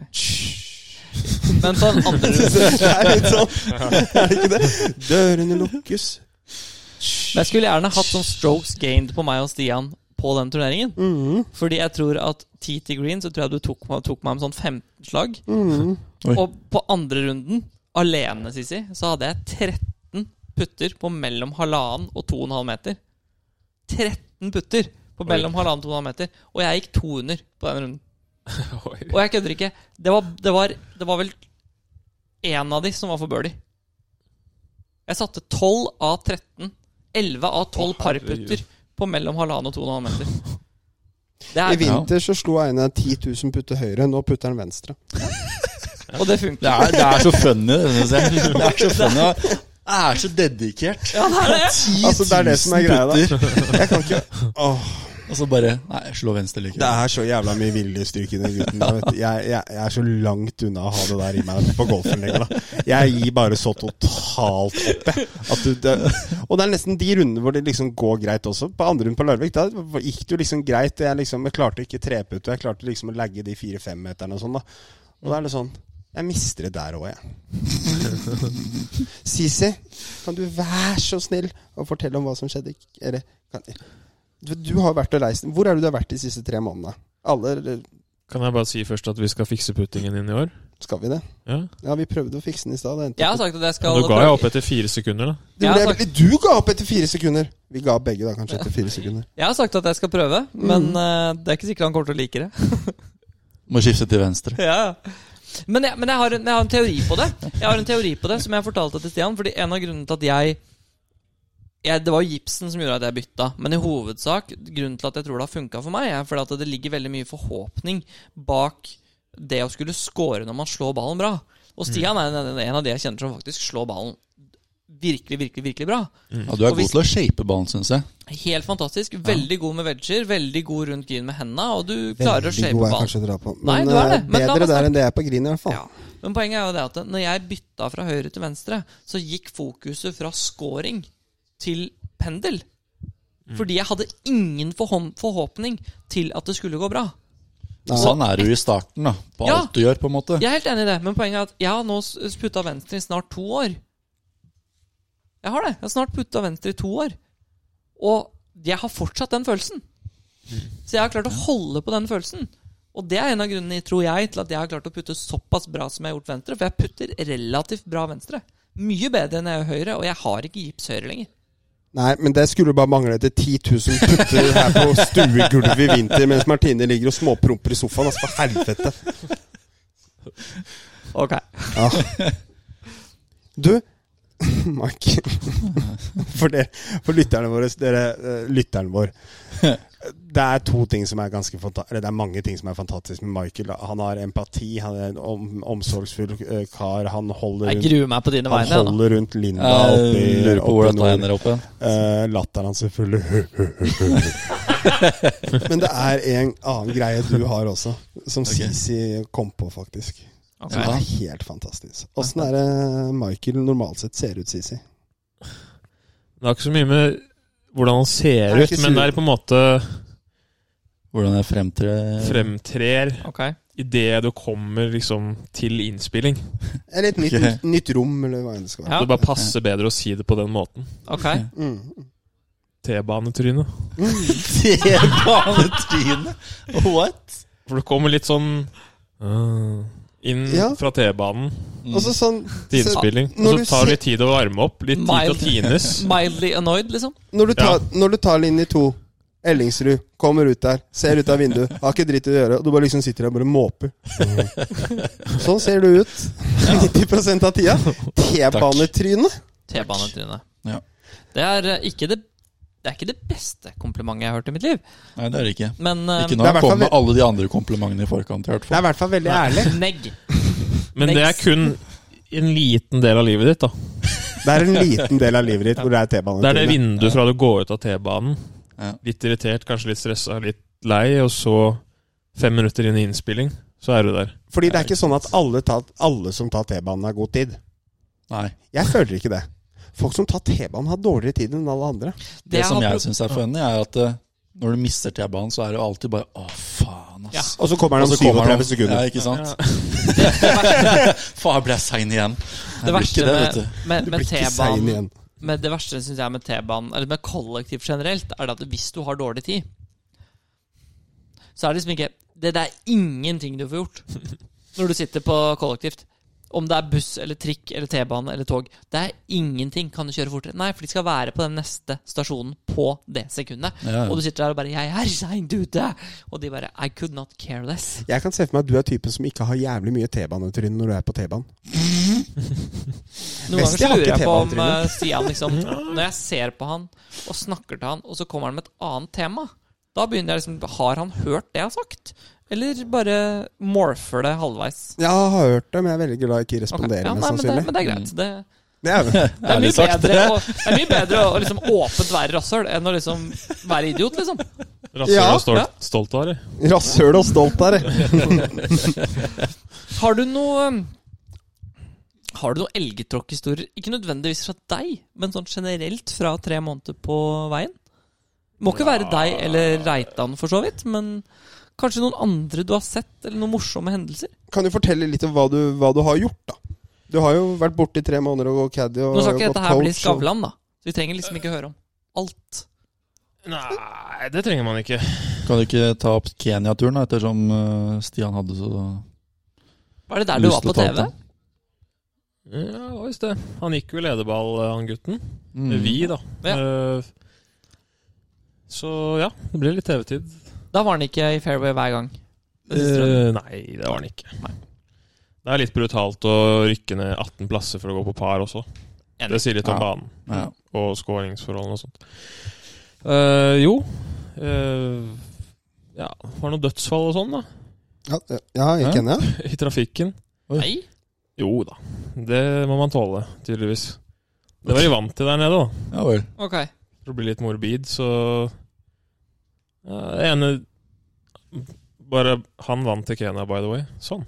Men på den andre runden Det er litt sånn. Er det ikke det? Dørene lukkes. Jeg skulle gjerne hatt sånn strokes gained på meg og Stian på den turneringen. Mhm, Fordi jeg tror at TT Green så tror jeg du tok meg, tok meg med sånn 15 slag. mhm. Oi. Og på andre runden, alene, Sisi, så hadde jeg 13 putter på mellom halvannen og 2,5 meter. 13 putter på mellom halvannen og 2,5 meter. Og jeg gikk to under på den runden. Og jeg kødder ikke. Det var, det, var, det var vel én av de som var for birdie. Jeg satte 12 av 13. 11 av 12 Å, herregud. parputter på mellom halvannen og 2,5 meter. *laughs* Det I er, vinter så slo Einar 10 000 putter høyre. Nå putter han venstre. og det funker. *laughs* Det er, det er så funny, det synes jeg. *laughs* Det er så funny. Det er så dedikert. Ja, det er det. Altså, det er det som er greia, da. Jeg kan ikke Åh, Og så bare Nei, slå venstre Det likevel. er så jævla mye viljestyrke i den gutten. der, vet du. Jeg, jeg, jeg er så langt unna å ha det der i meg på golfen lenger. da. Jeg gir bare så totalt opp, jeg. At du, det, og det er nesten de rundene hvor det liksom går greit også. På andre runden på Larvik da gikk det jo liksom greit. og Jeg liksom jeg klarte ikke treputt, og jeg klarte liksom å lagge de fire-femmeterne og sånn. da Og da er det sånn Jeg mister det der òg, jeg. Sisi, kan du være så snill å fortelle om hva som skjedde? i- Eller kan, du, du har vært og reist Hvor er det du har vært de siste tre månedene? Alle eller Kan jeg bare si først at vi skal fikse puttingen din i år? Skal vi det? Ja. Ja, vi prøvde å fikse den i stad. det endte Jeg har opp- sagt at jeg skal Nå ga jeg opp etter fire sekunder, da. Det jeg har ble- Du ga opp etter fire sekunder! Vi ga opp begge, da, kanskje, etter fire sekunder. Jeg har sagt at jeg skal prøve, men eh, det er ikke sikkert han kommer til å like det. Må skifte til venstre. Ja. Men, jeg, men jeg, har en, jeg har en teori på det Jeg har en teori på det som jeg fortalte til Stian. Fordi en av grunnene til at jeg, jeg Det var jo gipsen som gjorde at jeg bytta. Men i hovedsak, grunnen til at jeg tror det har funka for meg, er fordi at det ligger veldig mye forhåpning bak det å skulle score når man slår ballen bra. Og Stian er en, en av de jeg kjenner som faktisk slår ballen virkelig, virkelig, virkelig bra. Ja, du er Og hvis- god til å shape ballen, syns jeg. Helt fantastisk. Veldig god med wedger, veldig god rundt green med henda, og du klarer å shape god er ballen. kanskje å dra på. Nei, Men, du er eh, det, men la bedre meg der snakke. enn det jeg er på green, i hvert fall. Ja. Men poenget er jo det at når jeg bytta fra høyre til venstre, så gikk fokuset fra scoring til pendel. Mm. Fordi jeg hadde ingen forhånd- forhåpning til at det skulle gå bra. Nei. Sånn er du i starten, da. På Ja. alt du gjør, på en måte. Jeg er helt enig i det, men poenget er at jeg har nå s- putta venstre i snart to år. Jeg har det. Jeg har snart putta venstre i to år. Og jeg har fortsatt den følelsen. Så jeg har klart å holde på den følelsen. Og det er en av grunnene, tror jeg, til at jeg har klart å putte såpass bra som jeg har gjort venstre. For jeg putter relativt bra venstre. Mye bedre enn jeg gjør høyre, og jeg har ikke gips høyre lenger. Nei, men det skulle bare mangle etter 10 000 putter her på stuegulvet i vinter mens Martine ligger og småpromper i sofaen. Altså, for helvete. Ok. Du, *laughs* Mike. For, det, for lytterne våre dere, eh, Lytteren vår. Det er to ting som er ganske fanta- Eller det er mange ting som er fantastisk med Michael. da. Han har empati, han er en om, omsorgsfull eh, kar. Han holder Jeg rundt, gruer meg på dine han vegne. holder rundt Linda oppi, Jeg lurer på hvor oppi dette nord. ender opp igjen. Eh, latteren hans selvfølgelig. *laughs* Men det er en annen greie du har også, som Sisi kom på, faktisk. da. Ok. Som er helt fantastisk. Åssen er det Michael normalt sett ser ut, Sisi? Det har ikke så mye med hvordan han Det ser er ut, ikke så- men det er på en måte Hvordan jeg fremtrer fremtrer Ok. idet du kommer liksom til innspilling. Eller et nytt, Ok. nytt rom, eller hva enn det skal være. Ja. Det bare passer bedre å si det på den måten. Ok. Mm. T-banetryne. T-banetrynet! What? For det kommer litt sånn «Ah, inn Ja. fra T-banen Og så sånn til så, innspilling. Når Og du så tar det ser- litt tid å varme opp. Litt tid til å Mild. tines. *laughs* Mildly annoyed, liksom. når, du tar, når du tar linje to Ellingsrud kommer ut der, ser ut av vinduet, har ikke dritt å gjøre, og du bare liksom sitter der og bare måper. Mhm. Sånn ser du ut 90 av tida. T-banetryne. T-banetrynet. Ja. Det er eh, ikke det det er ikke det beste komplimentet jeg har hørt i mitt liv. Nei, det er det ikke. Men eh, Ikke Det når han er i hvert kommer med fall- alle de andre komplimentene i forkant. Jeg har hørt Det folk. er i hvert fall veldig ærlig. negg. Men det er kun en liten del av livet ditt, da. Det er en liten del av livet ditt hvor det er Det er det T-banetryne. vinduet fra du går ut av T-banen. Ja. Litt irritert, kanskje litt stressa, litt lei, og så fem minutter inn i innspilling, så er du der. Fordi det er ikke sånn at alle, tar, alle som tar T-banen, har god tid. Nei, Jeg føler ikke det. Folk som tar T-banen, har dårligere tid enn alle andre. det, jeg som har jeg syns er funny, er at eh, når du mister T-banen, så er det jo alltid bare Å, faen, ass. Ja. Og så kommer Og den så om kommer han- 37 sekunder. Ja, ikke *laughs* sant? Faen, ble jeg sein igjen? Jeg Det blir verste ikke det, med, vet du. med, Du med blir ikke sein T-banen igjen. Men det verste synes jeg med T-banen, eller med kollektiv generelt, er det at hvis du har dårlig tid, så er det liksom ikke Det, det er ingenting du får gjort *laughs* når du sitter på kollektivt. Om det er buss eller trikk eller T-bane eller tog. Det er ingenting. Kan du kjøre fortere? Nei, for de skal være på den neste stasjonen på det sekundet. Ja, ja. Og du sitter der og bare 'Jeg er seint ute!' Og de bare 'I could not care less'. Jeg kan se for meg at du er typen som ikke har jævlig mye T-banetryne når du er på T-banen. Noen Vesti ganger har så lurer ikke jeg på om T-banetryne. eh, *laughs* Stian liksom Når jeg ser på han og snakker til han, og så kommer han med et annet tema, da begynner jeg liksom Har han hørt det jeg har sagt? Eller bare morfer det halvveis? Jeg har hørt det, men jeg er veldig glad jeg ikke Ok, responderer ja, mest nei, men, det, sannsynlig. men det er greit. Det, Ja, det, er, Ærlig mye sagt, bedre det. *laughs* å, det er mye bedre å liksom åpent være rasshøl enn å liksom være idiot, liksom. Rasshøl Ja. og stolt, Ja. stolt av det. *laughs* Rasshøl og stolt eh. er det. Har du noe Har du noen elgetråkkhistorier? Ikke nødvendigvis fra deg, men sånn generelt fra tre måneder på veien? Må ikke være deg eller Reitan, for så vidt, men kanskje noen andre du har sett, eller noen morsomme hendelser? Kan du fortelle litt om hva du, hva du har gjort, da? Du har jo vært borte i tre måneder og gått caddy og Nå skal og ikke gått dette her bli coach. og- Skavlan, da. Så vi trenger liksom ikke høre om alt. Nei, det trenger man ikke. Kan du ikke ta opp Kenya-turen, da, ettersom eh, Stian hadde så Var det der du lyst var på til å ta opp TV? den? Ja, hva hvis det? Han gikk jo ledeball, han gutten. Mm. Vi, da. Eh, Så ja, det ble litt TV-tid. Da var han ikke i fairway hver gang. Eh, nei, det var han ikke. Det er litt brutalt å rykke ned 18 plasser for å gå på par også. Det sier litt om Ja. banen Mm. Ja. og skåringsforholdene og sånt. Eh, jo eh, Ja, var det noen dødsfall og sånn, da? Ja, ja, jeg kjenner det. I trafikken? Nei? Jo da. Det må man tåle, tydeligvis. Det var de vant til der nede, da. ja vel. Ok. for å bli litt morbid, så ja, Det ene Bare Han vant til Kenya, by the way. Sånn.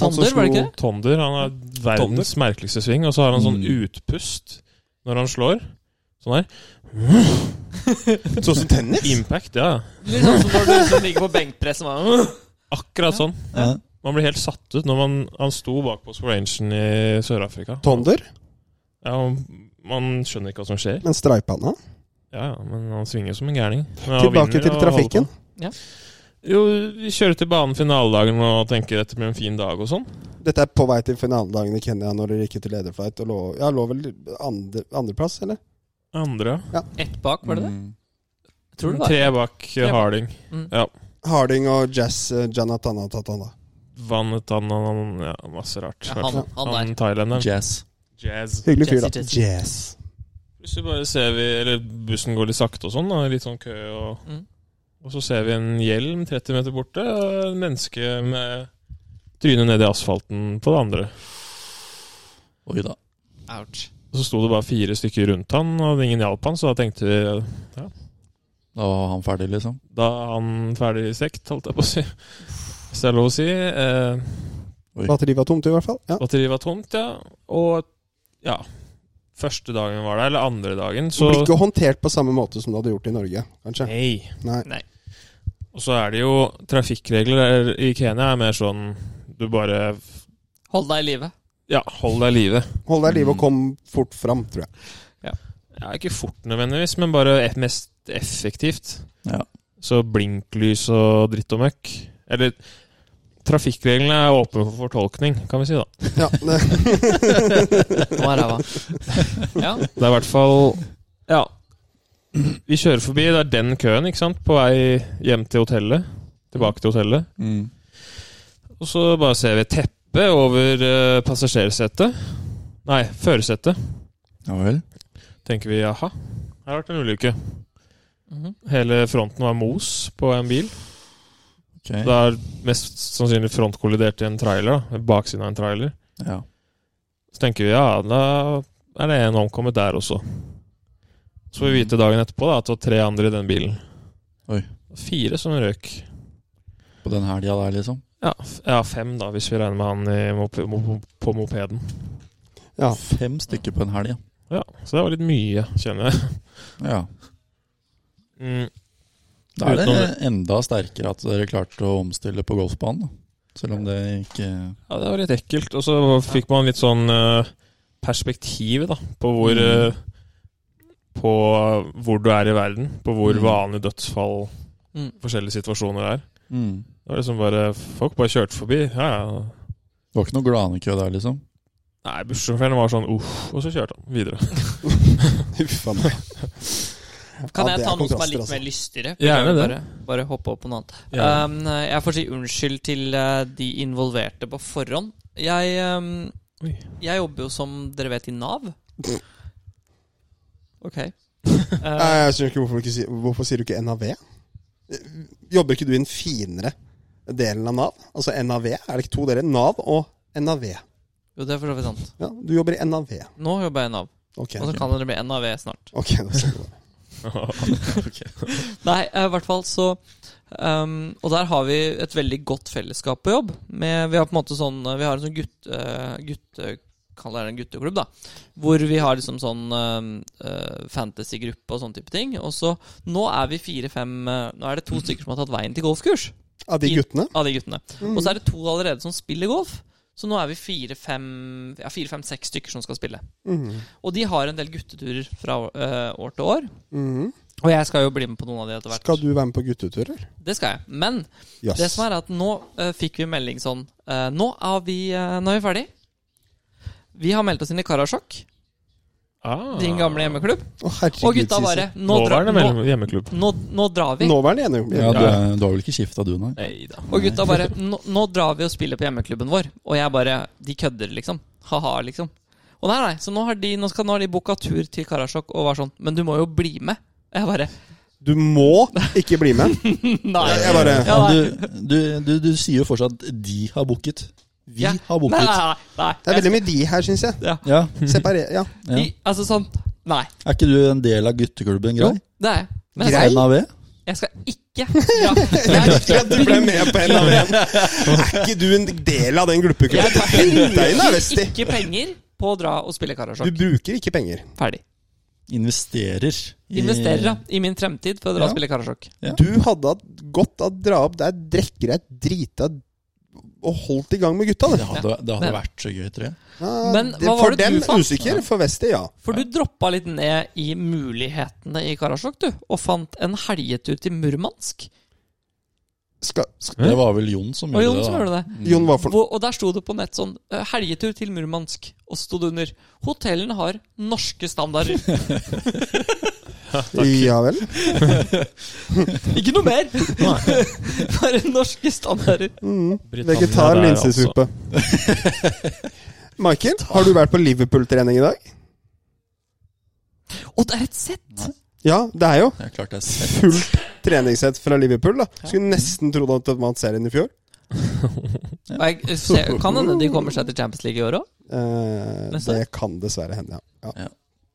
Han som Tonder, var det ikke slo- det? Tonder. Han har verdens merkeligste sving, og så har han sånn Mm. utpust når han slår. Sånn her. Sånn som tennis? Impact, ja. Litt sånn som når du liksom ligger på benkpress og bare Akkurat sånn. Ja. Man blir helt satt ut når man Han sto bak på rangen i Sør-Afrika. Tonder, Ja, og man skjønner ikke hva som skjer. men streipa han av? Ja, ja, men han svinger som en gærning. Men han Tilbake vinner til og holder trafikken. på. Ja. Jo, vi kjører til banen finaledagen og tenker dette blir en fin dag og sånn. Dette er på vei til finaledagen i Kenya når dere gikk ut i lederflight. Og lå, ja, lå vel andre, andreplass, eller? Andre. Ett bak, var det det? Mm. Jeg tror det var Tre bak eh, Tre bak. Harding. Mm. Ja. Harding og Jazz eh, Janatana Tatana. Vannet han, han, han ja, masse rart. ja, han, han der. han thailenderen. Jazz. Jazz. Hyggelig fyr, da. Jazzy, Jazz. Plutselig bare ser vi Eller bussen går litt sakte og sånn, da, litt sånn kø og Mm. Og så ser vi en hjelm 30 meter borte, og en menneske med trynet ned i asfalten på det andre. Oi da. Ouch. Og så sto det bare fire stykker rundt han, og ingen hjalp han, så da tenkte vi Da var han ferdig, liksom. Da er han ferdig stekt, holdt jeg på å si. Hvis det er lov å si. Eh, Batteriet var tomt, i hvert fall. Ja. batteriet var tomt, ja. Og ja Første dagen var det, eller andre dagen, Så... så Blir ikke håndtert på samme måte som du hadde gjort i Norge, kanskje. Nei. Nei. Og så er det jo trafikkregler der i Kenya er mer sånn Du bare Hold deg i live. Ja, hold deg i live. Hold deg i live og kom fort fram, tror jeg. Ja, ikke fort nødvendigvis, men bare eff- mest effektivt. Ja. Så blinklys og dritt og møkk. Eller trafikkreglene er åpne for fortolkning, kan vi si. da. Ja, det, Nå er ræva. Ja. Det er i hvert fall Ja. Vi kjører forbi. Det er den køen, ikke sant? På vei hjem til hotellet. Tilbake til hotellet. Mm. Og så bare ser vi et teppe over eh, passasjersetet. Nei, førersetet. Ja vel. Tenker vi jaha, her har det vært en ulykke. Mhm. Hele fronten var mos på en bil. Ok. Det er mest sannsynlig frontkollidert i en trailer. da, Baksiden av en trailer. Ja. Så tenker vi ja, da er det en omkommet der også. Så får vi vite dagen etterpå da, at det var tre andre i den bilen. Oi. Fire som røk. På den helga der, liksom. Ja, f- ja, fem da, hvis vi regner med han i mope- mo- på mopeden. ja. Fem stykker på en helg, ja. Ja, Så det var litt mye, kjenner jeg. ja. Mm. Da er det Utenom- enda sterkere at dere klarte å omstille på golfbanen. da. Selv om det ikke Ja, det var litt ekkelt. Og så fikk man litt sånn eh, perspektiv da, på hvor Mm. eh, På hvor du er i verden. På hvor Mm. vanlig dødsfall Mm. forskjellige situasjoner er. mm. Det var liksom bare, Folk bare kjørte forbi. Ja, ja. Det var ikke noe glanekø der, liksom. Nei, bussjåføren var sånn uff, og så kjørte han videre. *laughs* Huff a meg. Kan Ja, jeg det ta er noe som er kontraster, litt altså. mer lystigere? Gjerne det. Bare, bare hoppe opp på noe annet. Ja. Um, jeg får si unnskyld til eh, de involverte på forhånd. Jeg, um, Oi. jeg jobber jo som dere vet i Nav. Ok. *laughs* Nei, Eh, Jeg skjønner ikke hvorfor, du ikke, sier- hvorfor sier du ikke NAV? Jobber ikke du i den finere delen av Nav? Altså NAV? Er det ikke to deler? Nav og NAV. jo, det er for så vidt sant. Ja, du jobber i NAV. Nå jobber jeg i Nav, Ok, og så kan dere bli NAV snart. ok, da ser vi det. Nei, eh, i hvert fall så um, Og der har vi et veldig godt fellesskap på jobb. Med, vi har på en måte sånn eh, Vi har en sånn gutt, eh, gutte... Kall det en gutteklubb, da. Hvor vi har liksom sånn eh, eh, fantasygruppe og sånne type ting. Og så Nå er vi fire-fem eh, Nå er det Mm. to stykker som har tatt veien til golfkurs. Av de guttene? Av de guttene. Mm. Og så er det to allerede som spiller golf. Så nå er vi fire-fem Ja, fire-fem-seks stykker som skal spille. Mhm. Og de har en del gutteturer fra eh, år til år. Mhm. Og jeg skal jo bli med på noen av de etter hvert. Skal du være med på gutteturer? Det skal jeg. Men Yes. det som er at nå eh, fikk vi melding sånn eh, nå, er vi, eh, nå er vi ferdig. Vi har meldt oss inn i Karasjok, *laughs* Ah. din gamle hjemmeklubb. Å, herregud, Og gutta bare Sisi. Nå, dra, nå, Nåværende mellom- hjemmeklubb. nå, nå drar vi. Nåværende ene Ja, du, er, du har vel ikke skifta du, nei? Neida. Og gutta bare nå, nå drar vi og spiller på hjemmeklubben vår. Og jeg bare De kødder, liksom. Ha-ha, liksom. Og nei, nei, så nå har de, nå skal, nå har de booka tur til Karasjok og var sånn Men du må jo bli med. Og jeg *laughs* bare Du må ikke bli *laughs* med. Nei. Jeg bare Ja, Men nei. du, du, du, du sier jo fortsatt 'de har booket'. Vi Ja. har Nei, booket. nei, nei. Det er nei. veldig mye de her, syns jeg. Ja, Separer, ja. ja. I, altså sånn Nei. Er ikke du en del av gutteklubben, Grei? Det er jeg. Men jeg Grei. skal, NAV? jeg skal ikke dra. *laughs* Jeg, Ja, du ble med på NAV. Er ikke du en del av den jeg gruppeklubben? Deg inn, da, bruker Vesti. ikke penger på å dra og spille Du Karasjok. bruker ikke penger. Ferdig. Investerer. i- Investerer da, i min fremtid for å dra Ja. og spille Karasjok. Ja. Du hadde hatt godt av å dra opp der, drikke deg drita og holdt i gang med gutta. Det Det. hadde, det hadde Men- vært så gøy, tror jeg. Ja, Men det- hva var for det du dem fant? usikker, for Vesti ja. For du droppa litt ned i mulighetene i Karasjok, du. Og fant en helgetur til Murmansk. Skal, skal, Hæ? Det var vel Jon som Og Jon gjorde som Mm, det. da. gjorde det. Jon, hva for Hvor, og der sto det på nett sånn eh, 'Helgetur til Murmansk'. Og så sto det under 'Hotellen har norske standarder'. *laughs* Ja vel. Ikke noe mer! *laughs* Bare norske standarder. Mm. Britannia Vegetar der, linsesuppe. Michael, har du vært på Liverpool-trening i dag? Og det er et sett! Ja, det er jo Det er klart det er selv. fullt treningssett fra Liverpool. da Skulle nesten trodd at de vant serien i fjor. Og jeg, eh, se, kan hende de kommer seg til Champions League i år òg. Eh, Neste. det kan dessverre hende, ja. ja.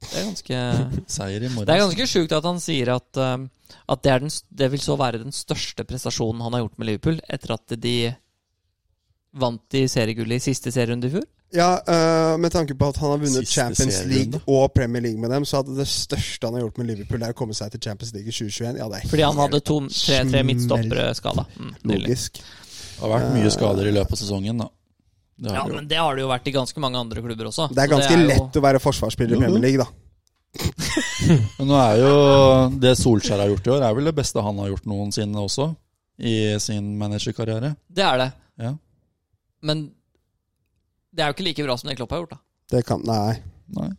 Det er ganske *laughs* Seier i morgen. Det er ganske sjukt at han sier at, eh, at det, er den, st- det vil så være den største prestasjonen han har gjort med Liverpool etter at de vant i seriegullet i siste serierunde i fjor. Ja, eh, Med tanke på at han har vunnet Siste Champions serierunde. League og Premier League med dem, så hadde det største han har gjort med Liverpool, Det er å komme seg til Champions League i 2021. Ja, det er Fordi han hadde to, tre, tre Smell. midtstoppere skada. Mm, nydelig. logisk. Det har vært mye skader i løpet av sesongen, da. Det har ja, det jo. men det har det jo vært i ganske mange andre klubber også. Det er Så ganske Altså, jo- lett å være forsvarsspiller i Jo, jo. Premier League, da. Men nå er jo det Solskjær har gjort i år, er vel det beste han har gjort noensinne også. I sin managerkarriere. Det er det. Ja. Men det er jo ikke like bra som det Klopp har gjort. da Det kan Nei. Nei.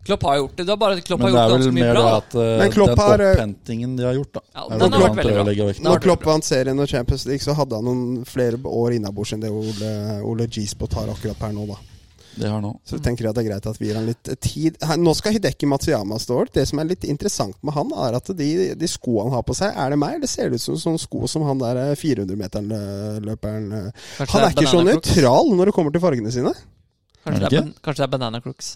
Klopp har gjort det. Det er bare at Klopp Men har det gjort er vel ganske mye mer det bra. da. at eh, Men Klopp den har, eh, opphentingen de har gjort, da. Ja, Det er den har vel det vært han veldig prøver å bra. legge vekt på. har Når vært Klopp bra. vant serien og Champions League, så hadde han noen flere år innabords enn det Ole, Ole Giesbot har akkurat per nå, da. Det har nå. Så tenker jeg at det er greit at vi gir han litt tid. Her- Nå skal Hideki Matsuyama stå over. Det som er litt interessant med han, er at de, de sko han har på seg, er det meg? Eller ser det ut som sånne sko som han der eh, 400-meteren-løperen eh? Kanskje Han det er ikke så banana crooks. nøytral når det kommer til fargene sine. Kanskje, Er det det er ban- kanskje det er Banana Crooks.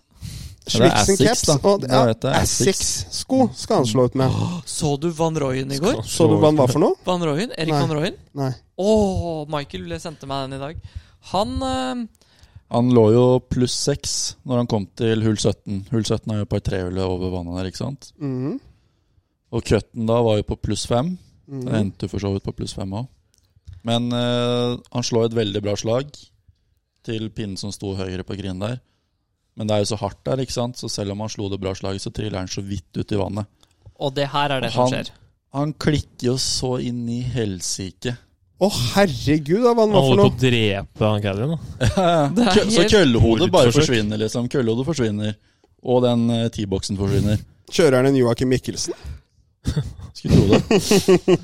Men det er Slicks Asics, and caps. da. Og, Det ja, heter Asics. Asics-sko skal han slå ut med. Så du Van Royen i altså. går? Så du hva han var for noe? Van Royen? Erik Nei. Van Royen? Nei. Å, Michael sendte meg den i dag. Han eh, Han lå jo pluss seks når han kom til hull 17. Hull 17 er jo par trehullet over vannet der, ikke sant? Mhm. Og cutten da var jo på pluss fem. Mm. Mhm. Det endte jo for så vidt på pluss fem òg. Men eh, han slår et veldig bra slag til pinnen som sto høyere på grinen der. Men det er jo så hardt der, ikke sant? så selv om han slo det bra slaget, så triller han så vidt ut i vannet. Og det her er det Han- som skjer. Han klikker jo så inn i helsike. Å, herregud, da, hva han Han var for holder på å noe? drepe han Caddien. Det er Kø- Så helt- køllehodet bare Mordforsøk. forsvinner, liksom. Køllehodet forsvinner. Og den eh, T-boksen forsvinner. Kjører han en Joakim Mikkelsen? *laughs* Skulle tro det.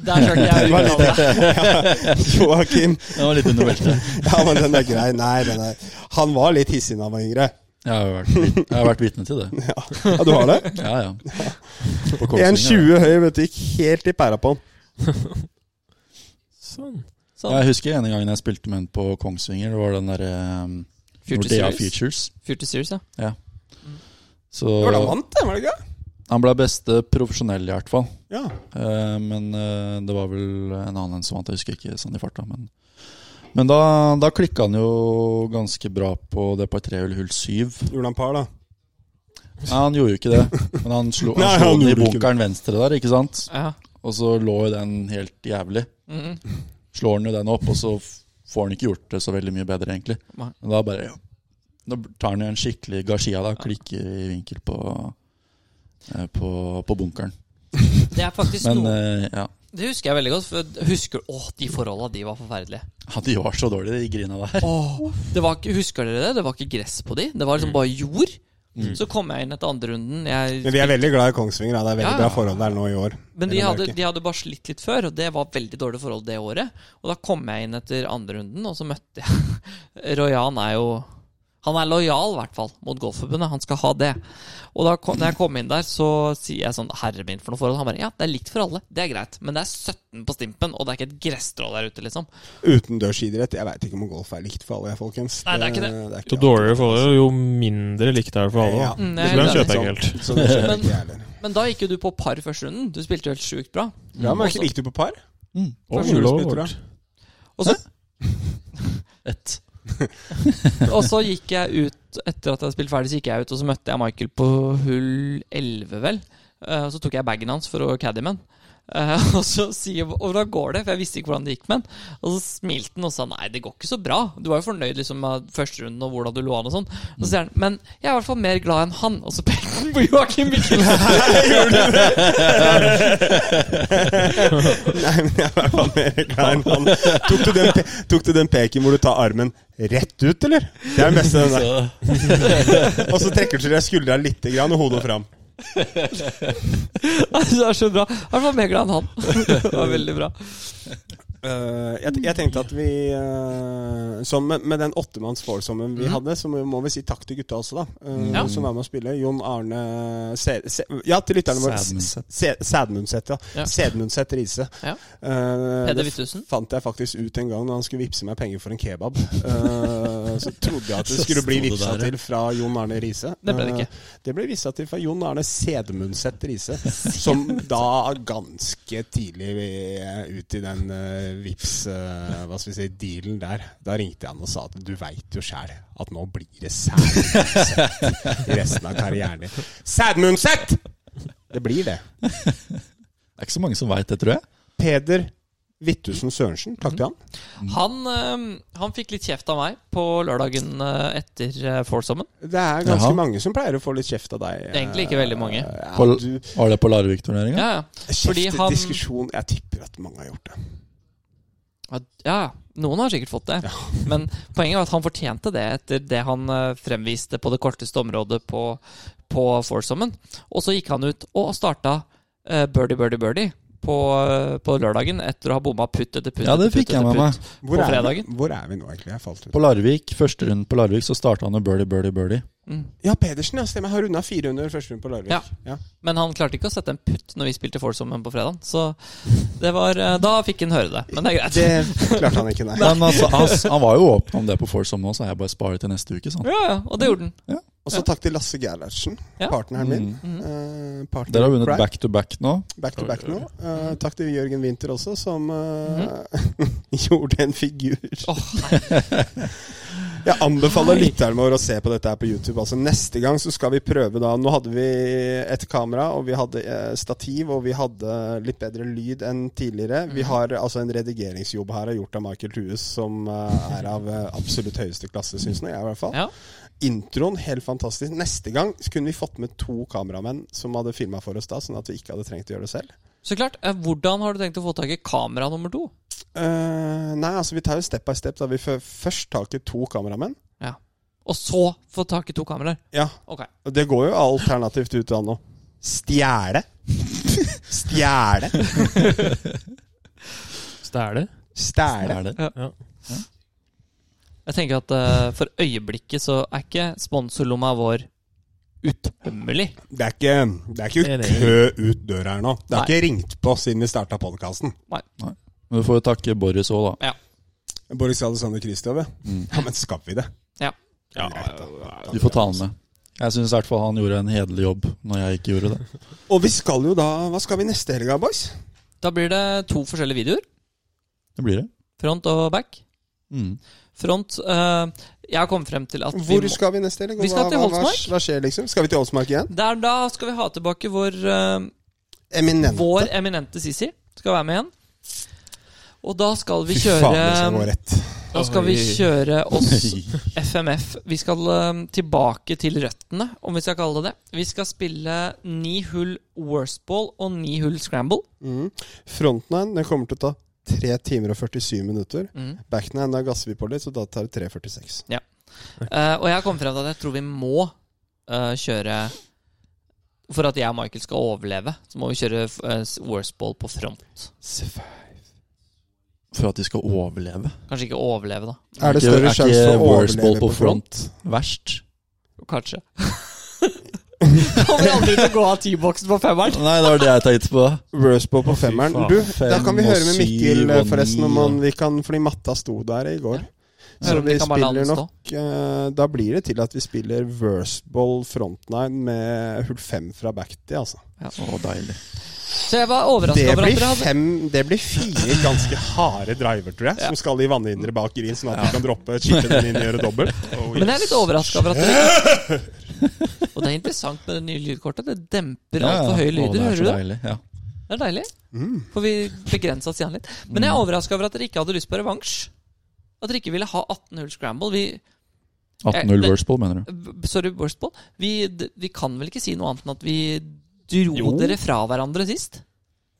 Der skal *laughs* ikke jeg uttale meg. Joakim Det var litt under beltet. Ja, men den er grei. Nei, den er Han var litt hissig da han var yngre. Jeg har jo vært, vit- jeg har vært vitne til det. Ja, du har det? Ja, ja. På Kongsvinger, da. 1,20 høy, vet du. Gikk helt i pæra på han. Sånn. Sånn. Jeg husker en gang jeg spilte med en på Kongsvinger. Det var den derre um, Future Nordea Series. Futures. Future Series, ja. Så Det var da han vant, det, var det ikke? han ble beste profesjonell, i hvert fall. Ja. Eh, men eh, det var vel en annen enn som vant. Jeg husker ikke sånn i farta. Men, men da, da klikka han jo ganske bra på det par tre hull hull syv. Gjorde han par, da? Nei, han gjorde jo ikke det. Men han slo, han slo Nei, den i han gjorde ikke det. bunkeren venstre der, ikke sant? ja. Og så lå jo den helt jævlig. Mhm. Slår han jo den opp, og så f- får han ikke gjort det så veldig mye bedre, egentlig. Nei. Men da bare Da tar han jo en skikkelig Garcia, da. Klikker i vinkel på, eh, på, på bunkeren. Det er faktisk Men noe eh, ja. Det husker jeg veldig godt. For jeg husker, åh, de forholda, de var forferdelige. ja, de var så dårlige, de grina der. Åh, det var ikke, husker dere det? Det var ikke gress på de. Det var Mm. liksom bare jord. Så kom jeg inn etter andre runden. Jeg, Men vi er veldig glad i Kongsvinger. Da. Det er veldig Ja. bra forhold der nå i år. men de Eller hadde, merke. de hadde bare slitt litt før, og det var veldig dårlige forhold det året. Og da kom jeg inn etter andre runden, og så møtte jeg *laughs* Royan er jo Han er lojal, i hvert fall, mot Golfforbundet. Han skal ha det. Og da kom, når jeg kom inn der, så sier jeg sånn Herre min, for noe forhold. Han bare Ja, det er likt for alle. Det er greit. Men det er 17 på stimpen, og det er ikke et gresstrå der ute, liksom. Utendørsidrett Jeg veit ikke om golf er likt for alle, folkens. Nei, det er ikke det. er Jo alltid- dårligere forhold, jo mindre likt er det for alle. Ja. da. Mm, jeg Det skulle er han helt kjøpe enig. enkelt. Så det skjønner Men- ikke jeg heller. Men da gikk jo du på par i første runden. Du spilte jo helt sjukt bra. Ja, men Også- gikk du på par? Mm. Oh, Kanskje du lord. spytter, Og så, Ett. *laughs* og så gikk jeg ut Etter at jeg hadde spilt ferdig, så gikk jeg ut og så møtte jeg Michael på hull 11, vel. Eh, Og så tok jeg bagen hans for å caddyman. Eh, *laughs* og så sier Og da går det, for jeg visste ikke hvordan det gikk med han. Og så smilte han og sa nei, det går ikke så bra. Du var jo fornøyd liksom med førsterunden og hvordan du lå an og sånn. Og så sier han men jeg er i hvert fall mer glad enn han. Og så pekte han på Joakim Mikkelsen. *laughs* *laughs* Nei, men jeg var bare mer glad enn han. Tok du, den, pe- tok du den peken hvor du tar armen rett ut, eller? Det er det beste. Den der. *laughs* Og så trekker du til deg skuldra litt grann, og hodet fram. det er så bra. Jeg er i hvert fall mer glad enn han. *laughs* det var veldig bra. Eh, jeg, jeg tenkte at vi eh, som med, med den åttemanns foursomen vi hadde, så må, må vi si takk til gutta også, da. eh, Ja. Som var med å spille. Jon Arne Se, se, Ja, til lytterne våre. Sædmundset. Se- Sædmundset. Ja. Ja. Sædmundset Riise. Ja. Eh, Peder det Wittusen. fant jeg faktisk ut en gang da han skulle vippse meg penger for en kebab. Eh, så trodde jeg at det Så skulle bli sto det vippsa der, ja. til fra Jon Arne Riise. Det ble det ikke. Eh, det ble vippsa til fra Jon Arne Sædmundset *laughs* Riise, som da ganske tidlig eh, ut i den uh, vips eh, Hva skal vi si, dealen der. Da ringte jeg han og sa at du veit jo sjæl at nå blir det Sædmundset i resten av karrieren din. Sædmundset! Det blir det. Det er ikke så mange som veit det, tror jeg. Peder Wittusen Sørensen, takk Mhm. til han. Han, eh, han fikk litt kjeft av meg på lørdagen eh, etter eh, Foursommen. Det er ganske Jaha. mange som pleier å få litt kjeft av deg. eh, Egentlig ikke veldig mange. Ja, På, du, var det på Larvik-turneringa? Ja, ja. kjeft, han- diskusjon Jeg tipper at mange har gjort det. Ja, ja, noen har sikkert fått det. *laughs* Men poenget var at han fortjente det etter det han eh, fremviste på det korteste området på, på foursommen. Og så gikk han ut og starta eh, birdie, birdie, birdie på, eh, på lørdagen etter å ha bomma putt etter putt. Ja, det etter putt fikk jeg etter med putt. meg. Hvor, På er vi, fredagen? hvor er vi nå, egentlig? Jeg falt ut. På Larvik, første runden på Larvik, så starta han med birdie, birdie, birdie. Mm. Ja, Pedersen, ja. Stemmer. Har runda 400 første runde på Larvik. Ja. Ja. Men han klarte ikke å sette en putt når vi spilte foursommen på fredag. Så det var, eh, da fikk han høre det. Men det er greit. Det klarte han ikke, nei. Men altså, han, han var jo åpen om det på Forsom nå, så jeg bare sparer til neste uke. sant? *laughs* Ja, ja, og det gjorde han. Og så takk til Lasse Gerhardsen, Ja. partneren min. Mhm. Eh, partner Dere har vunnet Pride. back to back nå. Back to back nå. Eh, takk til Jørgen Winther også, som eh, *laughs* gjorde en figur. *laughs* Jeg anbefaler lytteren vår å se på dette her på YouTube. Altså Neste gang så skal vi prøve da Nå hadde vi et kamera, og vi hadde eh, stativ, og vi hadde litt bedre lyd enn tidligere. Vi har altså en redigeringsjobb her gjort av Michael Thues, som eh, er av eh, absolutt høyeste klasse, syns nå jeg, i hvert fall. Ja. Introen, helt fantastisk. Neste gang så kunne vi fått med to kameramenn som hadde filma for oss da, sånn at vi ikke hadde trengt å gjøre det selv. Så klart. eh, Hvordan har du tenkt å få tak i kamera nummer to? Eh, nei, altså vi tar jo step by step. da Vi får først tak i to kameramenn. Og så få tak i to kameraer? Ja, Ok. og Det går jo alternativt ut an å stjele. Stjele. Stæle? Stjele. Er det? Jeg tenker at eh, for øyeblikket så er ikke sponsorlomma vår utømmelig. Det er ikke, det er Det er ikke det. kø ut døra her nå. Det Nei. er ikke ringt på siden vi starta podkasten. Men du får jo takke Boris òg, da. Boris Alexander Kristov, ja. ja. Men skal vi det? Mm. Ja. Greit, da. Du får ta han med. Jeg syns i hvert fall han gjorde en hederlig jobb når jeg ikke gjorde det. Og vi skal jo da Hva skal vi neste helg, da, boys? Da blir det to forskjellige videoer. Det blir det. Front og back. Mm. Front eh, Jeg har kommet frem til at Hvor vi må skal vi neste helg? og Vi skal hva- til hva- hva- Holsmark. Hva skjer, liksom? Skal vi til Holsmark igjen? Der da skal vi ha tilbake vår, eh, Eminent. vår eminente Sisi. Skal være med igjen. Og da skal vi um, Fy faen, det skal gå kjøre rett. Da skal vi Oi. kjøre *laughs* oss FMF. Vi skal eh, tilbake til røttene, om vi skal kalle det det. Vi skal spille ni hull worstball og ni hull scramble. Mm. Frontline den kommer til å ta 3 timer og 47 minutter. Mm. Backline da gasser vi på litt, så da tar det 3.46. Eh, og jeg har kommet frem til at jeg tror vi må eh, kjøre For at jeg og Michael skal overleve, så må vi kjøre uh, worstball på front. For at de skal overleve. Kanskje ikke overleve, da. Er det Ikke- større er sjanse ikke for å worst ball overleve på på front? Verst. *laughs* Kanskje. *laughs* Kommer aldri til å gå av T-boksen på femmeren. Nei, det var det jeg tenkte på. Worst ball på femmeren. faen. Du, Fem da kan vi og høre med Mikkel syv og forresten ni om han og- vi kan Fordi matta sto der i går. Hører Så om vi de kan bare la spiller den nok eh, Da blir det til at vi spiller worst ball frontline med hull fem fra backtid, altså. Å, deilig. Så jeg var Det overraska over at blir, dere hadde fem, det blir fire ganske harde driver, tror jeg, som skal i vannhindre bak green, sånn at du kan droppe chipen din inn og gjøre *laughs* dobbelt. Oh, Men jeg er litt overraska over at dere *laughs* Og det er interessant med det nye lydkortet. Det demper altfor høye Å, det lyder. er Hører du så det? deilig. Ja. Det er deilig. Mm. Får vi begrensa stjernen litt. Men jeg er overraska over at dere ikke hadde lyst på revansj. At dere ikke ville ha 18 hull scramble. Vi, 18-0 det- worst ball, mener du? b- sorry, worstball. Vi, d- vi kan vel ikke si noe annet enn at vi dro Jo. dere fra hverandre sist?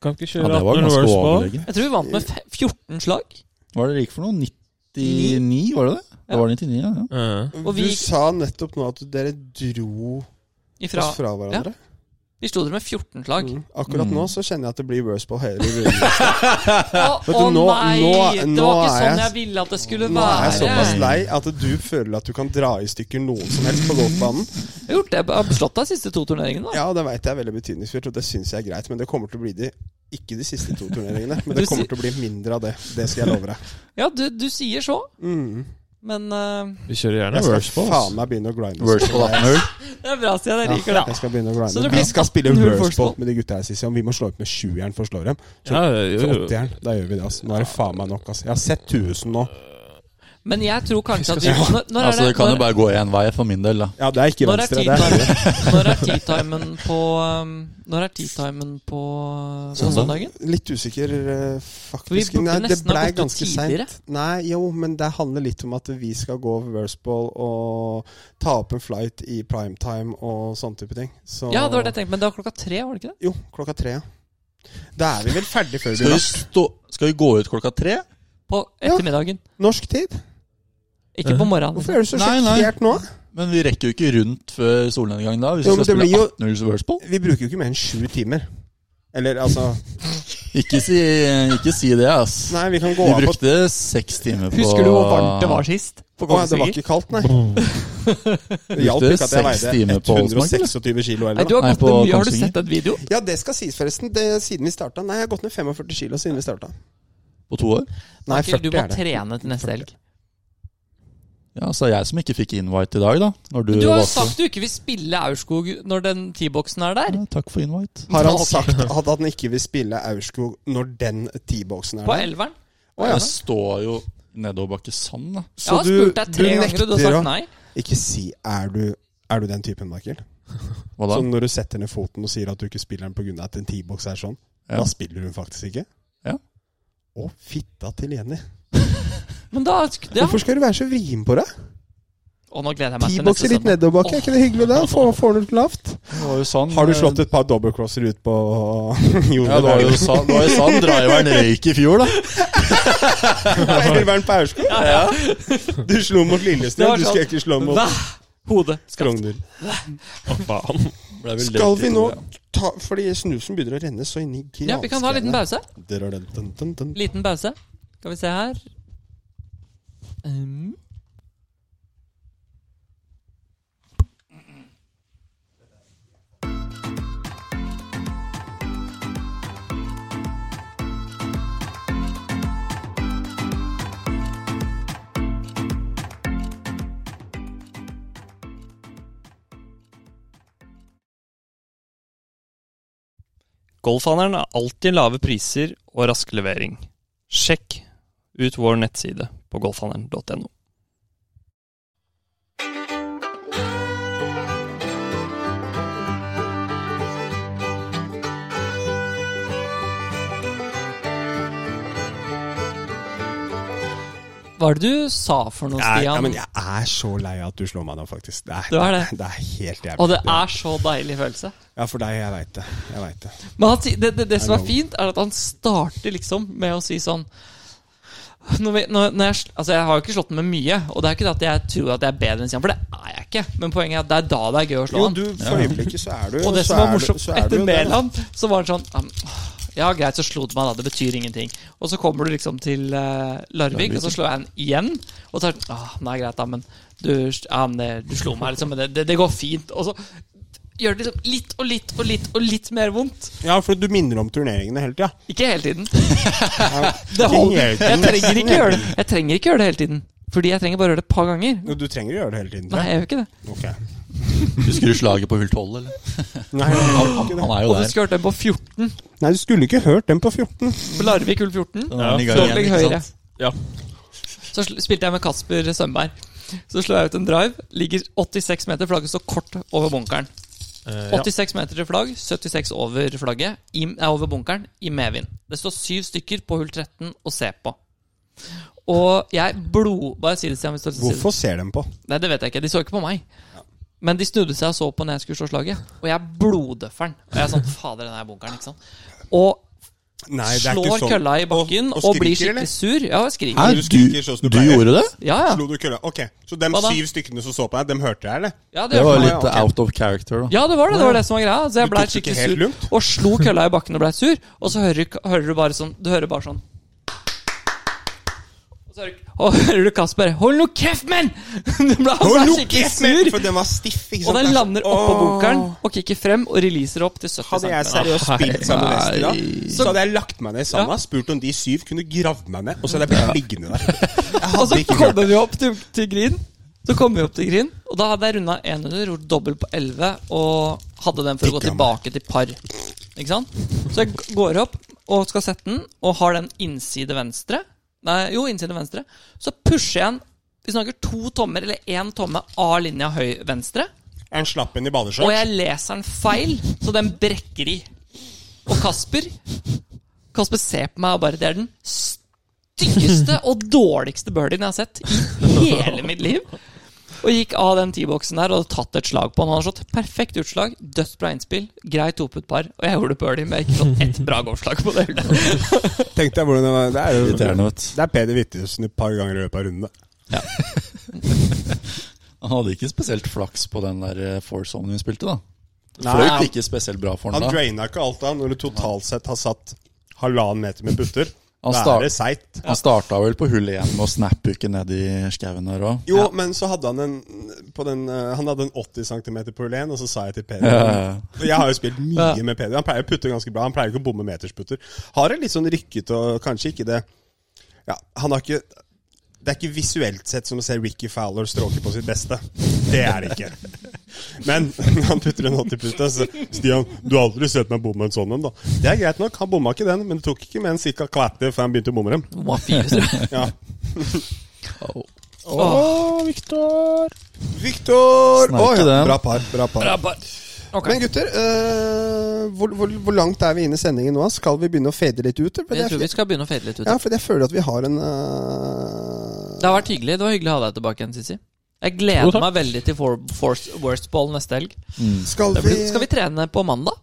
Kan ikke Ja, kjøre det var 18 ganske reverse ball. overlegent. Jeg tror vi vant med fe- 14 slag. Hva er det det gikk for noe? 99, var det det? Det var 99, ja. ja. Ja. Og vi- Du sa nettopp nå at dere dro Ifra, oss fra hverandre. vi slo dere med 14 slag. Mm. Akkurat Mm. nå så kjenner jeg at det blir worst ball hele runden. *laughs* Å, Vet du, å nå- nei! nå- det nå var ikke er jeg- sånn jeg ville at det skulle Nå er jeg være. såpass lei at du føler at du kan dra i stykker noen som helst på golfbanen. Jeg har gjort det. Jeg har slått deg de siste to turneringene. Da. Ja, det veit jeg er veldig betydningsfullt, og det syns jeg er greit. Men det kommer til å bli de ikke de siste to turneringene. Du Men sier- det kommer til å bli mindre av det. Det skal jeg love deg. Ja, du, du sier så, Mm. men eh, Vi kjører gjerne Jeg reverse skal ball. faen meg begynne å grinde. Worst ball 18-0. det er bra, Stian. Jeg liker Ja, det. jeg skal begynne å Så det grinde. blir Vi skal spille 18 hull worst worstball. ball med de gutta her, Sissy. Om vi må slå opp med sjueren for å slå dem, Ja, jo, for jo. åtteren, da gjør vi det. altså Nå er det faen meg nok. altså Jeg har sett 1000 nå. Men jeg tror kanskje at vi Når, når Altså, det er det, kan når, jo bare gå én vei for min del, da. Ja, det er ikke når er venstre. Det er høyre. tea-timen- *laughs* når er tea-timen på um, Når er tea-timen på, på søndagen? Litt usikker, eh, faktisk. Vi burde Nei, det nesten ha blei gått ut ganske tidligere. seint. Nei, jo, men det handler litt om at vi skal gå Versball og ta opp en flight i primetime og sånne type ting. Så Ja, det var det jeg tenkte, men det var klokka tre, var det ikke det? Jo, klokka tre. ja. Da er vi vel ferdig før vi Skal vi, stå, skal vi gå ut klokka tre på Ja. ettermiddagen. Norsk tid? Ikke på morgenen. Hvorfor er du så Nei, nei. sjokkert nå? Men vi rekker jo ikke rundt før solnedgang da, hvis Jo, vi men skal det spille blir jo- 18-hulls Worldsball. Vi bruker jo ikke mer enn sju timer. Eller altså Ikke, si, ikke si det, ass. Nei, vi kan gå Vi av på brukte seks timer på Husker du hvor varmt det var sist? På Å, det var Kongsvinger? ikke kaldt, nei. Det hjalp Brukte ikke at jeg seks timer veide på Olsmark, eller? 126 kilo Nei, eller du har noe. Nei, gått på ned mye. Har du Kongsvinger. sett den videoen? Ja, det skal sies, forresten. Det, siden vi starta. Nei, jeg har gått ned 45 kilo siden vi starta. på to år? Nei, Ok, 40 du må er det. trene til neste helg. Ja, så er jeg som ikke fikk invite i dag, da. Når du, Du har jo valgte. sagt du ikke vil spille Aurskog når den T-boksen er der. Ja, takk for invite. Har han Ok. sagt at han ikke vil spille Aurskog når den T-boksen er På der? elveren. Å, ja. Det står jo nedoverbakke sand, da. Jeg har spurt deg tre ganger, og du har sagt nei. Ikke si er du, er du den typen, Michael? Hva da? Som når du setter ned foten og sier at du ikke spiller den pga. at en T-boks er sånn. Ja. Da spiller hun faktisk ikke. Ja. Å, fitta til Jenny. Men da ja. Hvorfor skal du være så vrien på deg? Og nå gleder jeg meg til neste T-bokser litt søndag. nedoverbakke, er ikke det hyggelig da? Få- Får du litt lavt? Det var jo sand, eh, Har du slått et par dobbeltcrosser ut på *laughs* Ja, det var jo jordbærene? sand, det var jo sand driveren røyk i fjor, da. *laughs* Elveren på Aurskog? Du slo mot Det Lillestrøm, var du sånn. skal ikke slå mot Hva? Hodet. Skrogner. faen. Ble vel Skal ledd i vi to, nå ja. ta Fordi snusen begynner å renne så inn i Ja, vi kan ha en liten pause. pause. Liten pause. Skal vi se her. Um. Golfhandelen har alltid lave priser og rask levering. Sjekk ut vår nettside på golfhandelen.no. Hva er det du sa for noe, Nei, ja, Stian? men jeg er så lei av at du slår meg nå, faktisk. Det er, Du er det. det er helt jævlig. Og det er så deilig følelse. Ja, for deg, jeg veit det. Jeg vet det. Men han, sier- det, det, det som I er know. fint, er at han starter liksom med å si sånn når vi, når, når jeg, sl- altså jeg har jo ikke slått den med mye, og det er ikke det at jeg tror at jeg er bedre enn Stian, for det er jeg ikke. Men poenget er at det er da det er gøy å slå Jo, han. du, for øyeblikket så er du Og det så som var er du- morsomt så er du etter jo det. Mæland, så var han sånn «Am, Ja, greit, så slo du meg, da. Det betyr ingenting. Og så kommer du liksom til eh, Larvik, og så slår jeg han igjen. Og så er det sånn ah, Nei, greit, da, men du, ja, men det, du slo meg, liksom. Men det, det, det går fint. Og så gjør det liksom litt og litt og litt og litt mer vondt. Ja, for du minner om turneringene hele tida. Ikke hele tiden. Ja. *laughs* Det holder. Ikke hele Jeg trenger tiden. ikke gjøre det Jeg trenger ikke gjøre det hele tiden. Fordi jeg trenger bare gjøre det et par ganger. Jo, Du trenger å gjøre det hele tiden. Nei, tror jeg. jeg gjør ikke det. Ok. Husker du slaget på hull 12, eller? Nei, du gjør ikke det. Han er jo Og du der. skulle hørt den på 14. Nei, du skulle ikke hørt den på 14. På Larvik hull 14. Den er den i gang Dobbling igjen, ikke høyre. sant? *laughs* Ja. Så sl- spilte jeg med Kasper Sømberg. Så slår jeg ut en drive. Ligger 86 meter, flagget står kort over bunkeren. Eh, ja. 86 meter til flagg, 76 over flagget, i, eh, over bunkeren, i medvind. Det står syv stykker på hull 13 å se på. Og jeg blod... Bare si det, Stian. hvis du har lyst til å si det. Hvorfor ser de på? Nei, det vet jeg ikke. De så ikke på meg. Men de snudde seg og så på når jeg skulle slå slaget. Og jeg blodøffer den. Og jeg er sånn Fader, den her bunkeren, ikke sant. Og Nei, det er slår ikke sånn. kølla i bakken og, Og- og blir skriker, eller? skikkelig sur. Ja, jeg skriker. Hæ, Du du, skriker sånn som du du pleier. gjorde det? Ja, Ah, ja. Slo du kølla? Ok, så de Hva da? syv stykkene som så på deg, dem hørte deg, eller? ja, det, Det gjør var meg. litt Ja, ok. out of character, da. ja, det var det. Det var det som var greia. Så jeg Du blei tok det ikke skikkelig helt sur. lugnt? Og slo kølla i bakken og blei sur. Og så hører, hører du bare sånn Du hører bare sånn Og så hører, og hører du Kasper 'Hold nå kjeft, *laughs* menn!' Du ble Å, altså lukk skikkelig kjeften! sur. For den var stiff, ikke Og sant? den Det er så- lander oppå Åh. bunkeren og kicker frem og releaser opp til 70 cm. Hadde jeg seriøst spilt sammen med Esti da, så hadde jeg lagt meg ned sammen, Ja. spurt om de syv kunne gravd meg ned, og så hadde jeg blitt liggende *laughs* der. Jeg Og hadde så ikke hørt kommer vi opp til, til green. Så kommer vi opp til green, og da hadde jeg runda én under, gjort dobbelt på 11 og hadde den for å gå Digga tilbake til par. Ikke sant? Så jeg g- går opp og skal sette den, og har den innside venstre. Nei, jo, innside venstre. Så pusher jeg den Vi snakker to tommer, eller én tomme av linja høy venstre. En slapp inn i Og badeskjørt. jeg leser den feil, så den brekker i. Og Kasper Kasper ser på meg og bare Det er den styggeste og dårligste birdien jeg har sett i hele mitt liv. Og gikk av den T-boksen der og hadde tatt et slag på han. Han har slått perfekt utslag, dødsbra innspill, greit topet par. Og jeg gjorde birdie, men jeg har ikke fått ett bra golfslag på det. hullet. Tenkte jeg hvordan det var. Det er, jo, Irriterende, vet du. det er Peder Wittiussen et par ganger i løpet av rundene. Han hadde ikke spesielt flaks på den der eh, foursomen vi spilte, da. Det Nei, fløyt han- ikke spesielt bra for Han han da. draina ikke alt da, når du totalt sett har satt halvannen meter med putter. Han Da start- er det seigt. Han starta vel på hull én med å snapphuke ned i skauen her òg. Jo, men så hadde han en på den, eh, Han hadde en 80 cm på hull 1, og så sa jeg til Peder Ja. Og Jeg har jo spilt mye Ja. med Peder. Han pleier å putte ganske bra. Han pleier ikke å bomme metersputter. Har en litt sånn rykket og kanskje ikke det Ja, han har ikke det er ikke visuelt sett som å se Ricky Fowler stråke på sitt beste. Det er det ikke. Men *laughs* han putter en 80-putte. Så Stian, du har aldri sett meg bomme en sånn en, da. Det er greit nok, han bomma ikke den, men det tok ikke mer enn ca. kvarter før han begynte å bomme dem. Nummer fire, tror jeg. Ja. Åh, Victor! Viktor! Snerker den. Bra par. Bra par. Bra par. Ok. Men gutter, eh, hvor, hvor, hvor langt er vi inne i sendingen nå? Skal vi begynne å fade litt ut? eller? For det er- Jeg tror vi skal begynne å fade litt ut. Ja, for jeg føler at vi har en eh, Det har vært hyggelig. Det var hyggelig å ha deg tilbake igjen, Sissi. Jeg Jo, gleder takk. meg veldig til for, Force Worst Ball neste helg. Skal Det vi blir, skal vi trene på mandag?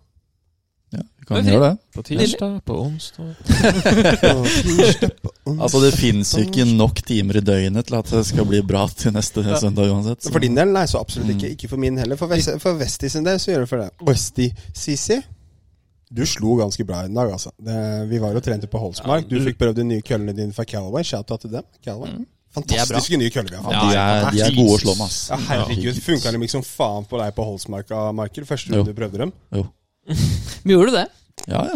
Ja, Men vi kan fri- gjøre Mm. det. På tirsdag, på onsdag Altså, det fins jo ikke nok timer i døgnet til at det skal bli bra til neste søndag uansett. så- For din del, nei, så absolutt ikke. Ikke for min heller. For, West, for Westie sin del, så gjør det for det. Westie Sisi, du slo ganske bra i dag, altså. Det, vi var og trente på Holsmark. Du fikk prøvd de nye køllene dine fra Calaway. Shout-out til dem. Calaway. Fantastiske nye køller vi har fått. Ja, de, er, de er gode å slå med, ass. Ja, herregud, funka de liksom faen på deg på Holsmarka, Michael? Første Jo. runde du prøvde dem? Jo. Men gjorde du det? Ja, ja.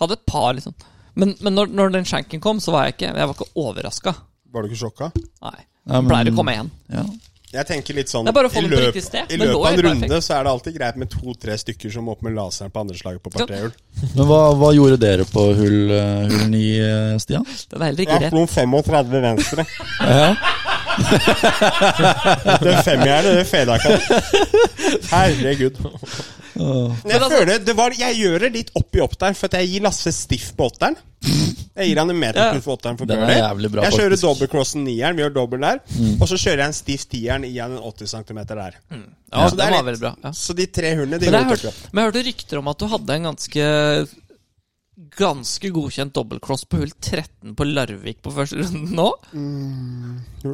Hadde et par, liksom. Men, men når, når den skjenken kom, så var jeg ikke Jeg var ikke overraska. Var du ikke sjokka? Nei. Nei, men- Pleier å komme igjen. Ja. Jeg tenker litt sånn Det er bare å få I den på løpet, riktig sted, i men løpet lå av en er runde perfekt. så er det alltid greit med to-tre stykker som må opp med laseren på andre slaget på par Ja. trehjul. Men hva, hva gjorde dere på hull, eh, hull 9, eh, Stian? Den er heller ikke Jeg rett. slo 35 *laughs* venstre. *laughs* Ja. Det femmjernet, det feda ikke. Herregud. Men altså- Jeg føler det var Jeg gjør det litt opp i åtteren, for at jeg gir Lasse stiff på åtteren. Jeg gir han en meter Ja. pluss på åtteren for Den er birdie. jævlig bra, Jeg kjører faktisk. Mm. dobbeltcrossen nieren, vi gjør dobbel der. Og så kjører jeg en stiff tieren, gir han en 80 cm der. Ja, Så det den var er litt- veldig bra. Ja. Så de tre hullene, de Men jeg, går til hørte, men jeg hørte rykter om at du hadde en ganske Ganske godkjent dobbeltcross på hull 13 på Larvik på første runde nå.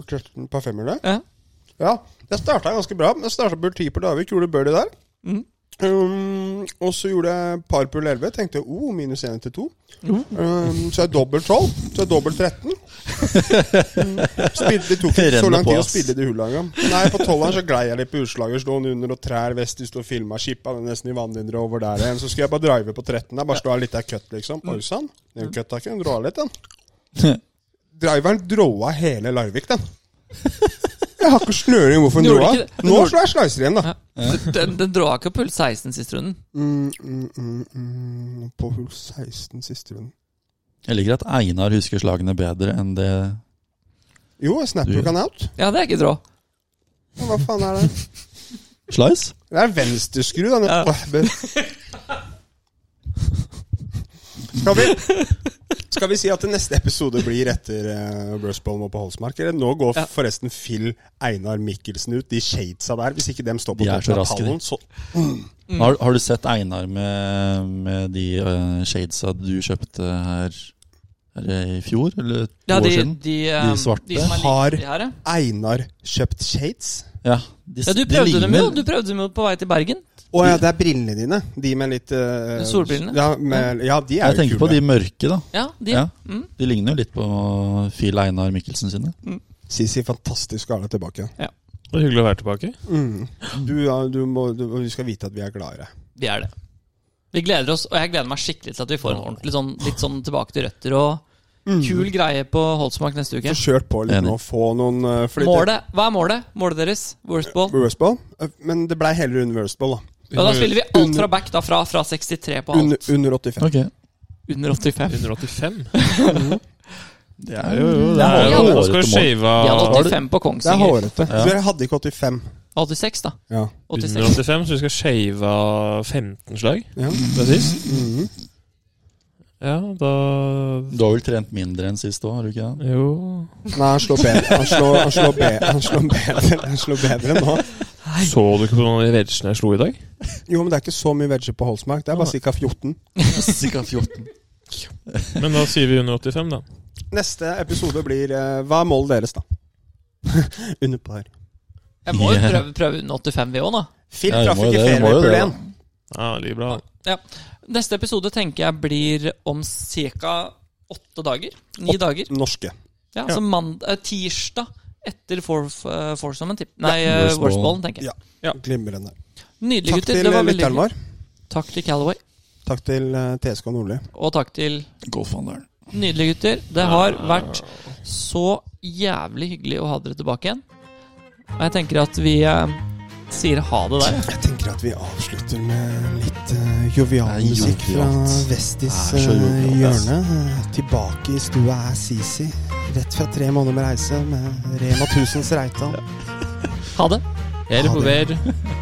Kløtten på femhjulet? Ja. Ja, jeg starta ganske bra. Jeg starta på ti på Davik, gjorde birdie der. Mhm. Um, og så gjorde jeg par på hull 11. Tenkte oh, minus 1 til 2. Um, så er dobbelt 12. Så er *laughs* dobbelt 13. Mm. Spilte, det tok ikke så Renner lang på, tid å ass. spille de hulla engang. Nei, på 12-eren så glei jeg litt på utslaget. Slo den under og trær vest. De sto og filma. Skippa den nesten i vannlinjer over der igjen. Så skulle jeg bare drive på 13. Der. Bare stå her litt der cut, liksom. Mm. Oi sann. Den cutta ikke. Den dråa litt, den. Driveren dråa hele Larvik, den. Jeg har ikke snøring hvorfor den Gjorde dråa. ikke det? Den Nå gjorde- slår jeg slicer igjen, da. Den, den dra ikke på hull 16 siste runden. Mm, mm, mm, mm. På hull 16 siste runden. Jeg liker at Einar husker slagene bedre enn det Jo, jeg snapper jo ikke han out. Ja, det er ikke drå. Ja, Hva faen er det? Slice. *laughs* Det er venstreskru, da. Ja. Åh, men- Skal vi, skal vi si at det neste episode blir etter uh, Burstbollen og på Holsmark? Eller nå går Ja. forresten Phil, Einar Mikkelsen ut, de shadesa der. Hvis ikke dem står på De er så toppen av raske, de. pallen, så Mm. Har, har du sett Einar med, med de eh, shadesa du kjøpte her, her i fjor? Eller to Ja, de, år siden? de, eh, De svarte som er like har- de her, ja. Einar kjøpt shades? Ja, de, Ja, du de prøvde dem jo. ligner- Du prøvde dem jo på vei til Bergen. Å ja, det er brillene dine. De med litt eh, Solbrillene? Ja, med, ja de er Jeg tenker jo på kule. de mørke, da. Ja, de, Ja. Mm. De ligner jo litt på Phil Einar Mikkelsen sine. Sisi, fantastisk å ha deg tilbake. Det er hyggelig å være tilbake. Mm. Du, ja, du, må, du, og du skal vite at vi er glad i deg. Vi er det. Vi gleder oss, og jeg gleder meg skikkelig til at vi får en ordentlig sånn, litt sånn tilbake til røtter og kul greie på Holsmark neste uke. Mm. Så kjørt på litt Enig. nå. Få noen eh, fordi det- Målet, Hva er målet? Målet deres? Worst ball? Worst ball. Eh, Men det blei heller under worst ball, da. Ja, da spiller vi alt fra back, da. Fra, fra 63 på Under, alt. under 85. Ok. Under 85. 185? Det *laughs* Ja, jo, jo, det er er jo hårete Da skal du mål. shave Vi hadde av Har du- 85 på Det er Kongsvinger. hårete. Ja. Dere hadde ikke 85. 86, da. Ja. 86. 185, så vi skal shave av 15 slag. ja. Det er sist. Ja, da Du har vel trent mindre enn sist òg, har du ikke det? Jo Nei, han slår bedre, han slår, han slår bedre, han slår bedre, han slår bedre nå. Så du ikke på noen av de vegene jeg *laughs* slo i dag? Jo, men det er ikke så mye vegger på Holsmark. Det er bare ca. 14. *laughs* Cirka 14. Men da sier vi under 85, da. Neste episode blir eh, Hva er målet deres, da? *laughs* Under par. Jeg må jo Ja. prøve, prøve under 85 vi òg, da. Phil Ja, det traff må jo ikke det, det må jo feriepul det, 1. Ja, det ligger bra. da. Neste episode tenker jeg blir om ca. åtte dager. Ni Åtte. dager. Norske. Ja, Så mand eh, tirsdag etter for, uh, Forsommen. tipp- Nei, Ja. eh, Worstballen. Worstballen, tenker jeg. Ja. Glimrende. Nydelig, Takk gutter. til Det var eh, veldig lytteren hyggelig. vår. Takk til Calaway. Takk til eh, TSK Nordli. Og takk til Golfhandelen. nydelige gutter. Det har vært så jævlig hyggelig å ha dere tilbake igjen. Og jeg tenker at vi eh, sier ha det der. Jeg tenker at vi avslutter med litt eh, jovial Det er musikk fra jovialt. Vestis Det er så eh, jovialt, ass. hjørne. Eh, Tilbake i stua er Sisi. Rett fra tre måneder med reise med Rema 1000s Reitan. Ha det. Hele på Ha vei.